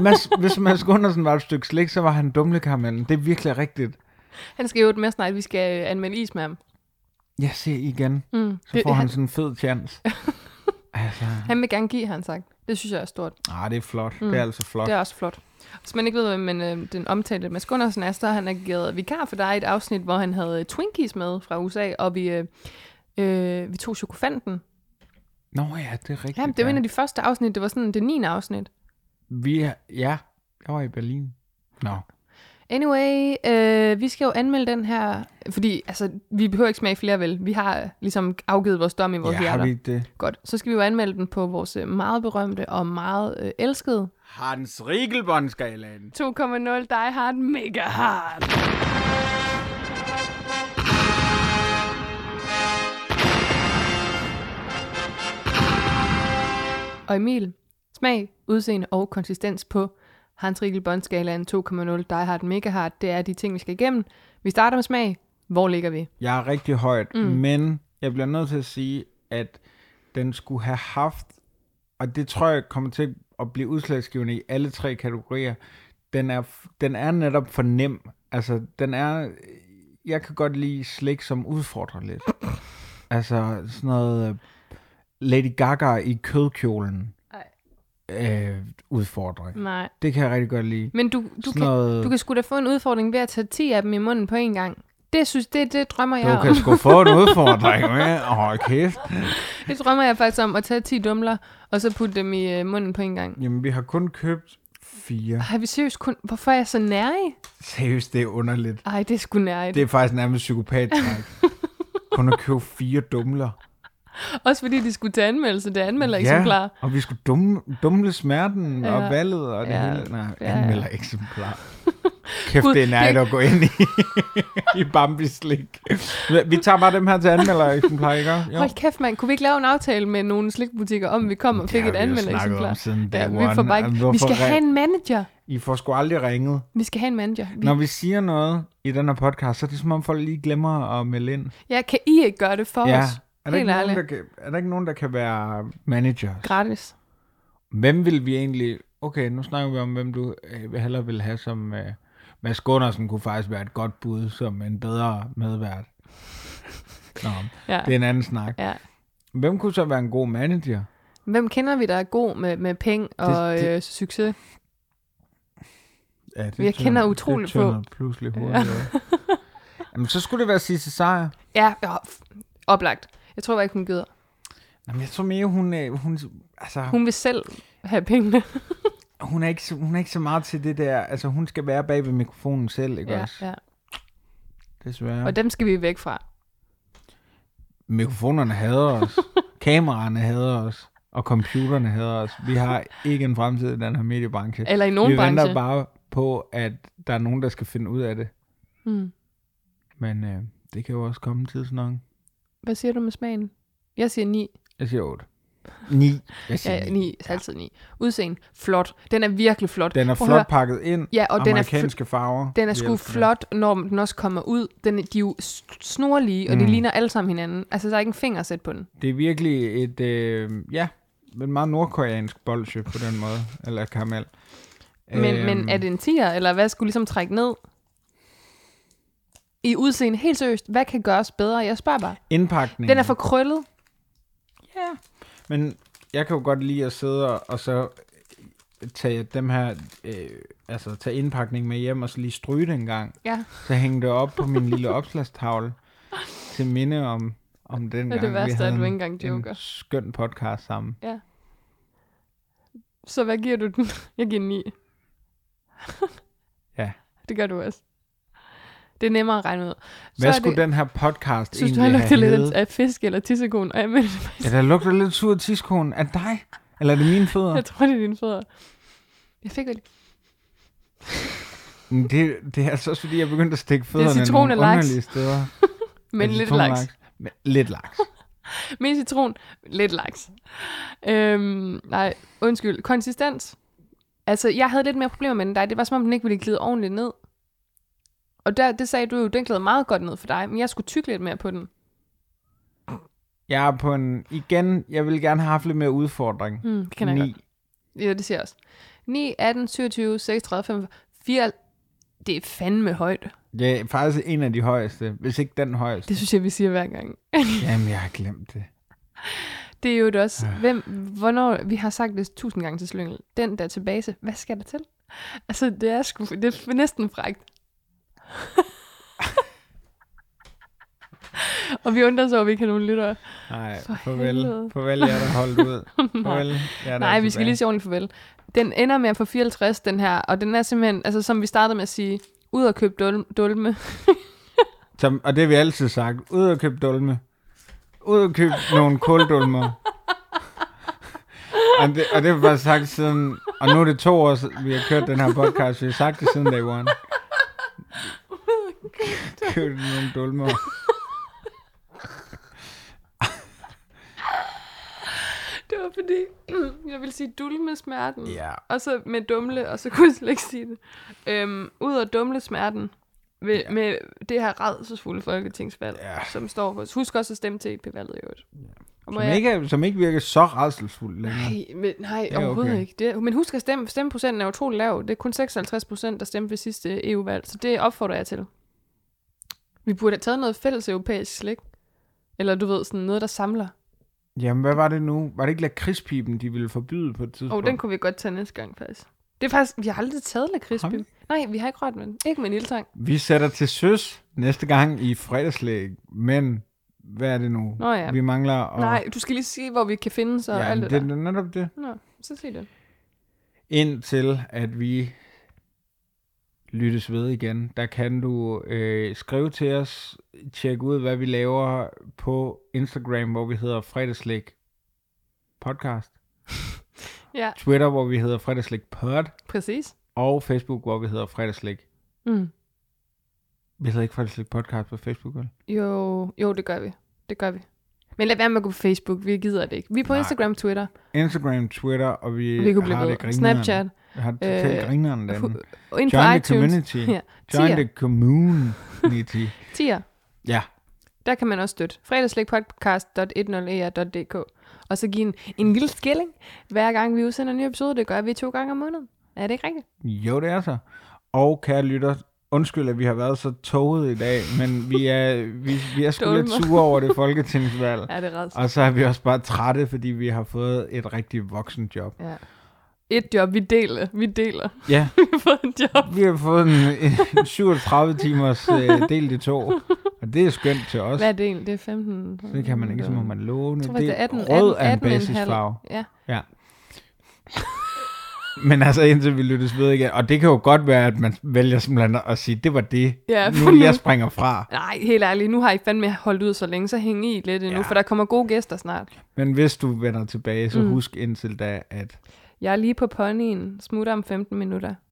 Speaker 2: Mads, hvis Mads Gundersen var et stykke slik, så var han dumlekaramellen. Det er virkelig rigtigt.
Speaker 1: Han skal jo et med snart, vi skal øh, anmelde is med ham.
Speaker 2: Jeg ser igen.
Speaker 1: Mm.
Speaker 2: Så
Speaker 1: Det,
Speaker 2: får han
Speaker 1: han,
Speaker 2: sådan en fed chance. Altså,
Speaker 1: han vil gerne give, har han sagt. Det synes jeg er stort.
Speaker 2: ah, det er flot. Mm. Det er altså flot.
Speaker 1: Det er også flot. Hvis man ikke ved, hvem øh, den omtalte Mads Gunnarsen er, så har han ageret vikar for dig i et afsnit, hvor han havde øh, Twinkies med fra USA, og vi, øh, øh, vi tog chokofanten.
Speaker 2: Nå ja, det er rigtigt.
Speaker 1: Ja, det var en af de første afsnit. Det var sådan det 9. afsnit.
Speaker 2: Vi er, ja, jeg var i Berlin. Nå.
Speaker 1: Anyway, øh, vi skal jo anmelde den her, fordi altså, vi behøver ikke smage flere, vel? Vi har øh, ligesom afgivet vores dom i vores
Speaker 2: Ja,
Speaker 1: hjerter.
Speaker 2: har vi ikke det?
Speaker 1: Godt, så skal vi jo anmelde den på vores øh, meget berømte og meget øh, elskede
Speaker 2: Hans Riegelbåndskalaen.
Speaker 1: 2.0 Die Hard Mega Hard. Og Emil, smag, udseende og konsistens på Hans Riegel Bondskalaen 2.0 Die Hard Mega Hard, det er de ting, vi skal igennem. Vi starter med smag. Hvor ligger vi?
Speaker 2: Jeg er rigtig højt, mm. men jeg bliver nødt til at sige, at den skulle have haft, og det tror jeg kommer til at blive udslagsgivende i alle tre kategorier, den er, den er netop for nem. Altså, den er... Jeg kan godt lide slik, som udfordrer lidt. Altså, sådan noget øh, Lady Gaga i kødkjolen
Speaker 1: Ej.
Speaker 2: øh, udfordring.
Speaker 1: Nej.
Speaker 2: Det kan jeg rigtig godt lide.
Speaker 1: Men du, du,
Speaker 2: Sådan
Speaker 1: kan,
Speaker 2: noget-
Speaker 1: du kan sgu da få en udfordring ved at tage 10 af dem i munden på en gang. Det synes det, det drømmer jeg
Speaker 2: Du
Speaker 1: om.
Speaker 2: kan sgu få en udfordring med. Åh, oh, kæft.
Speaker 1: Det drømmer jeg faktisk om at tage 10 dumler, og så putte dem i øh, munden på en gang.
Speaker 2: Jamen, vi har kun købt fire.
Speaker 1: Har vi seriøst kun... Hvorfor er jeg så nærig?
Speaker 2: Seriøst, det er underligt.
Speaker 1: Ej, det er sgu nærigt.
Speaker 2: Det
Speaker 1: Det...
Speaker 2: er faktisk nærmest psykopat Kun at købe fire dumler.
Speaker 1: Også fordi de skulle til anmeldelse. Det er anmeldereksemplar. Ja.
Speaker 2: og vi skulle dumle, dumle smerten ja.
Speaker 1: Ja.
Speaker 2: og valget og det ja.
Speaker 1: Ja.
Speaker 2: hele. Nej,
Speaker 1: Ja, ja.
Speaker 2: anmelder eksemplar. Kæft,
Speaker 1: Gud,
Speaker 2: det er nært
Speaker 1: det-
Speaker 2: at gå ind i, i Bambi slik. Vi tager bare dem her til anmelder eksemplar, ikke? Jo.
Speaker 1: Hold kæft, mand. Kunne vi ikke lave en aftale med nogle slikbutikker om, vi kom og fik et anmeldereksemplar?
Speaker 2: siden Altså,
Speaker 1: Ja, vi får bare ikke... Vi skal have en manager.
Speaker 2: I får sgu aldrig ringet.
Speaker 1: Vi skal have en manager. Vi...
Speaker 2: Når vi siger noget i den her podcast, så er det som om folk lige glemmer at melde ind.
Speaker 1: Ja, kan I ikke gøre det for ja. os?
Speaker 2: Er
Speaker 1: Helt
Speaker 2: der, ikke nogen,
Speaker 1: ærligt.
Speaker 2: der kan, er der ikke nogen, der kan være manager?
Speaker 1: Gratis.
Speaker 2: Hvem vil vi egentlig... Okay, nu snakker vi om, hvem du øh, hellere vil have som... Øh, Mads Gunnarsen kunne faktisk være et godt bud som en bedre medvært. Nå,
Speaker 1: Ja.
Speaker 2: det er en anden snak.
Speaker 1: Ja.
Speaker 2: Hvem kunne så være en god manager?
Speaker 1: Hvem kender vi, der er god med, med penge og
Speaker 2: det-
Speaker 1: det, det... Øh, succes?
Speaker 2: Ja, det
Speaker 1: Jeg
Speaker 2: tynder-
Speaker 1: kender utrolig
Speaker 2: det tynder pludselig hurtigt. Ja. Jamen, så skulle det være Sisse Sejr.
Speaker 1: Ja, ja, f- oplagt. Jeg tror bare ikke, hun gider.
Speaker 2: Jamen, jeg tror mere, hun, øh, hun, altså,
Speaker 1: Hun vil selv have pengene.
Speaker 2: hun er, ikke, så- hun er ikke så meget til det der, altså hun skal være bag ved mikrofonen selv, ikke
Speaker 1: ja,
Speaker 2: også?
Speaker 1: ja.
Speaker 2: Desværre.
Speaker 1: Og dem skal vi væk fra.
Speaker 2: Mikrofonerne hader os, kameraerne hader os, og computerne hader os. Vi har ikke en fremtid i den her mediebranche.
Speaker 1: Eller i nogen
Speaker 2: Vi venter
Speaker 1: branche.
Speaker 2: bare på, at der er nogen, der skal finde ud af det.
Speaker 1: Mm.
Speaker 2: Men øh, det kan jo også komme tidsnok.
Speaker 1: Hvad siger du med smagen? Jeg siger 9.
Speaker 2: Jeg siger 8. 9. Jeg siger
Speaker 1: Ja, 9. Altid 9. Udseende. Flot. Den er virkelig flot.
Speaker 2: Den er
Speaker 1: Prøv at
Speaker 2: flot
Speaker 1: høre,
Speaker 2: pakket ind.
Speaker 1: Ja, og den er fl-
Speaker 2: Amerikanske farver.
Speaker 1: Den er
Speaker 2: Vi
Speaker 1: sgu
Speaker 2: elsker det.
Speaker 1: flot, når den også kommer ud. Den, er- de er jo s- snorlige, og mm. de ligner alle sammen hinanden. Altså, der er ikke en finger at sætte på den.
Speaker 2: Det er virkelig et, øh, ja, en meget nordkoreansk bolsje på den måde, eller karamel.
Speaker 1: Men, øhm. men er det en tier, eller hvad skulle ligesom trække ned? I udseende, helt seriøst, hvad kan gøres bedre? Jeg spørger bare.
Speaker 2: Indpakningen.
Speaker 1: Den er for krøllet.
Speaker 2: Ja. Men jeg kan jo godt lide at sidde og, og så tage dem her, øh, altså tage indpakningen med hjem og så lige stryge det en gang.
Speaker 1: Ja,
Speaker 2: Så hænge det op på min lille opslagstavle til minde om, om den
Speaker 1: Det er
Speaker 2: gang,
Speaker 1: det værste,
Speaker 2: vi havde
Speaker 1: at du
Speaker 2: en,
Speaker 1: ikke engang joker.
Speaker 2: en skøn podcast sammen.
Speaker 1: så hvad giver du den? Jeg giver den 9.
Speaker 2: Ja.
Speaker 1: Det gør du også. Det er nemmere at regne ud. Så
Speaker 2: Hvad
Speaker 1: er
Speaker 2: skulle
Speaker 1: det,
Speaker 2: den her podcast
Speaker 1: Synes du, han
Speaker 2: egentlig
Speaker 1: lugter
Speaker 2: have
Speaker 1: lidt
Speaker 2: heddet?
Speaker 1: af- af fisk eller tissekon? Og jeg mener, det
Speaker 2: Ja, der lugter lidt sur tidskone. Er det dig? Eller er det mine fødder?
Speaker 1: Jeg tror, det er dine fødder. Jeg fik vel...
Speaker 2: Men Det, det er altså også fordi, jeg begyndte at stikke fødderne
Speaker 1: citron og laks.
Speaker 2: underlige steder.
Speaker 1: Men
Speaker 2: Ja,
Speaker 1: lidt
Speaker 2: citron og
Speaker 1: laks.
Speaker 2: Men Lidt laks.
Speaker 1: Mest citron, lidt laks. Øhm, nej, undskyld. Konsistens. Altså, jeg havde lidt mere problemer med den dig. Det var som om, den ikke ville glide ordentligt ned. Og der, det sagde du jo, den gled meget godt ned for dig, men jeg skulle tykke lidt mere på den.
Speaker 2: Jeg er på en... Igen, jeg vil gerne have haft lidt mere udfordring.
Speaker 1: Mm, det kan jeg
Speaker 2: Hmm, Ni.
Speaker 1: godt. Ja, det siger jeg også. 9, 18, 27, 36, 45, 4. Det er fandme højt.
Speaker 2: Det er faktisk en af de højeste, hvis ikke den højeste.
Speaker 1: Det synes jeg, vi siger hver gang.
Speaker 2: Jamen, jeg har glemt det.
Speaker 1: Det er jo det også, hvem, hvornår, vi har sagt det tusind gange til Slyngel, den der tilbage, hvad skal der til? Altså, det er, sgu, det er næsten frækt. Og vi undrer os over, at vi ikke har nogen lyttere.
Speaker 2: Nej,
Speaker 1: For
Speaker 2: farvel.
Speaker 1: helvede.
Speaker 2: Farvel, jeg der holdt ud. Farvel, jeg der
Speaker 1: Nej, vi skal lige sige ordentligt farvel. Den ender med at få 54, den her, og den er simpelthen, altså som vi startede med at sige, ud og købe dul- dulme.
Speaker 2: Som, og det har vi altid sagt. Ud og købe dulme. Ud og købe nogle kuldulmer. og, det, og det har vi bare sagt siden... Og nu er det to år, siden vi har kørt den her podcast. Vi har sagt det siden day one. Køb nogle dulmer.
Speaker 1: Det var fordi, jeg ville sige dulme smerten.
Speaker 2: Ja.
Speaker 1: Og så med dumle, og så kunne jeg slet ikke sige det. Øhm, ud af dumle smerten ved, ja. med det her redselsfulde folketingsvalg,
Speaker 2: Ja.
Speaker 1: ja. som står hos. Husk også at stemme til EP-valget i øvrigt. Ja. Og må
Speaker 2: Som ikke, som ikke virker så rædselsfuldt længere.
Speaker 1: Nej, men, nej
Speaker 2: er
Speaker 1: overhovedet
Speaker 2: okay.
Speaker 1: okay. ikke. Det, er- men husk at stemme. Stemmeprocenten er utrolig lav. Det er kun 56 procent, der stemte ved sidste EU-valg. Så det opfordrer jeg til. Vi burde have taget noget fælles europæisk slik. Eller du ved, sådan noget, der samler.
Speaker 2: Jamen, hvad var det nu? Var det ikke lakridspipen, de ville forbyde på et tidspunkt?
Speaker 1: Åh, oh, den kunne vi godt tage næste gang, faktisk. Det er faktisk, vi har aldrig taget
Speaker 2: Har
Speaker 1: lakridspip.
Speaker 2: vi?
Speaker 1: Nej, vi har ikke rørt med den. Ikke med en ildtang.
Speaker 2: Vi sætter til søs næste gang i fredagslæg, men hvad er det nu?
Speaker 1: Nå ja.
Speaker 2: Vi mangler at...
Speaker 1: Nej, du skal lige sige, hvor vi kan finde så ja,
Speaker 2: ja,
Speaker 1: alt det,
Speaker 2: det,
Speaker 1: det
Speaker 2: det
Speaker 1: der.
Speaker 2: er netop det.
Speaker 1: Nå, så sig det.
Speaker 2: Indtil at vi lyttes ved igen, der kan du øh, skrive til os, tjekke ud, hvad vi laver på Instagram, hvor vi hedder fredagslæg podcast,
Speaker 1: Ja,
Speaker 2: Twitter, hvor vi hedder fredagslæg pod,
Speaker 1: præcis.
Speaker 2: og Facebook, hvor vi hedder fredagslæg.
Speaker 1: Mm.
Speaker 2: Vi hedder ikke fredagslæg podcast på Facebook, vel?
Speaker 1: Jo, jo, det gør vi. Det gør vi. Men lad være med at gå på Facebook. Vi gider det ikke. Vi er på
Speaker 2: Nej.
Speaker 1: Nej. Instagram, Twitter.
Speaker 2: Instagram, Twitter, og vi,
Speaker 1: Vi kunne blive
Speaker 2: har det
Speaker 1: ved.
Speaker 2: grineren.
Speaker 1: Snapchat.
Speaker 2: Jeg har det totalt
Speaker 1: Øh,
Speaker 2: grineren derinde.
Speaker 1: Og ind på
Speaker 2: Join the
Speaker 1: iTunes.
Speaker 2: community.
Speaker 1: Ja.
Speaker 2: Join
Speaker 1: Tier.
Speaker 2: the community.
Speaker 1: Tier.
Speaker 2: ja,
Speaker 1: Der kan man også støtte. e fredagslægpodcast.10er.dk Og så give en, en lille skilling, hver gang vi udsender en ny episode. Det gør vi to gange om måneden. Er det ikke rigtigt?
Speaker 2: jo det er så. Og kære lytter, undskyld, at vi har været så toget i dag, men vi er, vi, vi er sgu lidt
Speaker 1: Dulmer.
Speaker 2: sure over det folketingsvalg.
Speaker 1: Ja, det er ret.
Speaker 2: Og så er vi også bare trætte, fordi vi har fået et rigtig voksen job.
Speaker 1: Ja. Et job, vi deler. Vi deler.
Speaker 2: Ja,
Speaker 1: Vi har fået en job.
Speaker 2: vi har fået en, en 37 timers øh, del i to, og det er skønt til os.
Speaker 1: Hvad er det egentlig? Det er 15...
Speaker 2: Det kan man ikke, så må man låne.
Speaker 1: Jeg tror faktisk, det er 18,
Speaker 2: rød
Speaker 1: 18,
Speaker 2: er en
Speaker 1: 18,5.
Speaker 2: basisfarve.
Speaker 1: Ja.
Speaker 2: Ja. Men altså, indtil vi lyttes ved igen. Og det kan jo godt være, at man vælger simpelthen at sige, det var det.
Speaker 1: Ja,
Speaker 2: nu
Speaker 1: for
Speaker 2: er det, jeg
Speaker 1: nu.
Speaker 2: springer fra.
Speaker 1: Nej, helt ærligt, nu har I fandme holdt ud så længe, så hæng i lidt endnu,
Speaker 2: Ja.
Speaker 1: ja. for der kommer gode gæster snart.
Speaker 2: Men hvis du vender tilbage, så mm. husk indtil da, at
Speaker 1: Jeg er lige på ponyen, smutter om 15 minutter.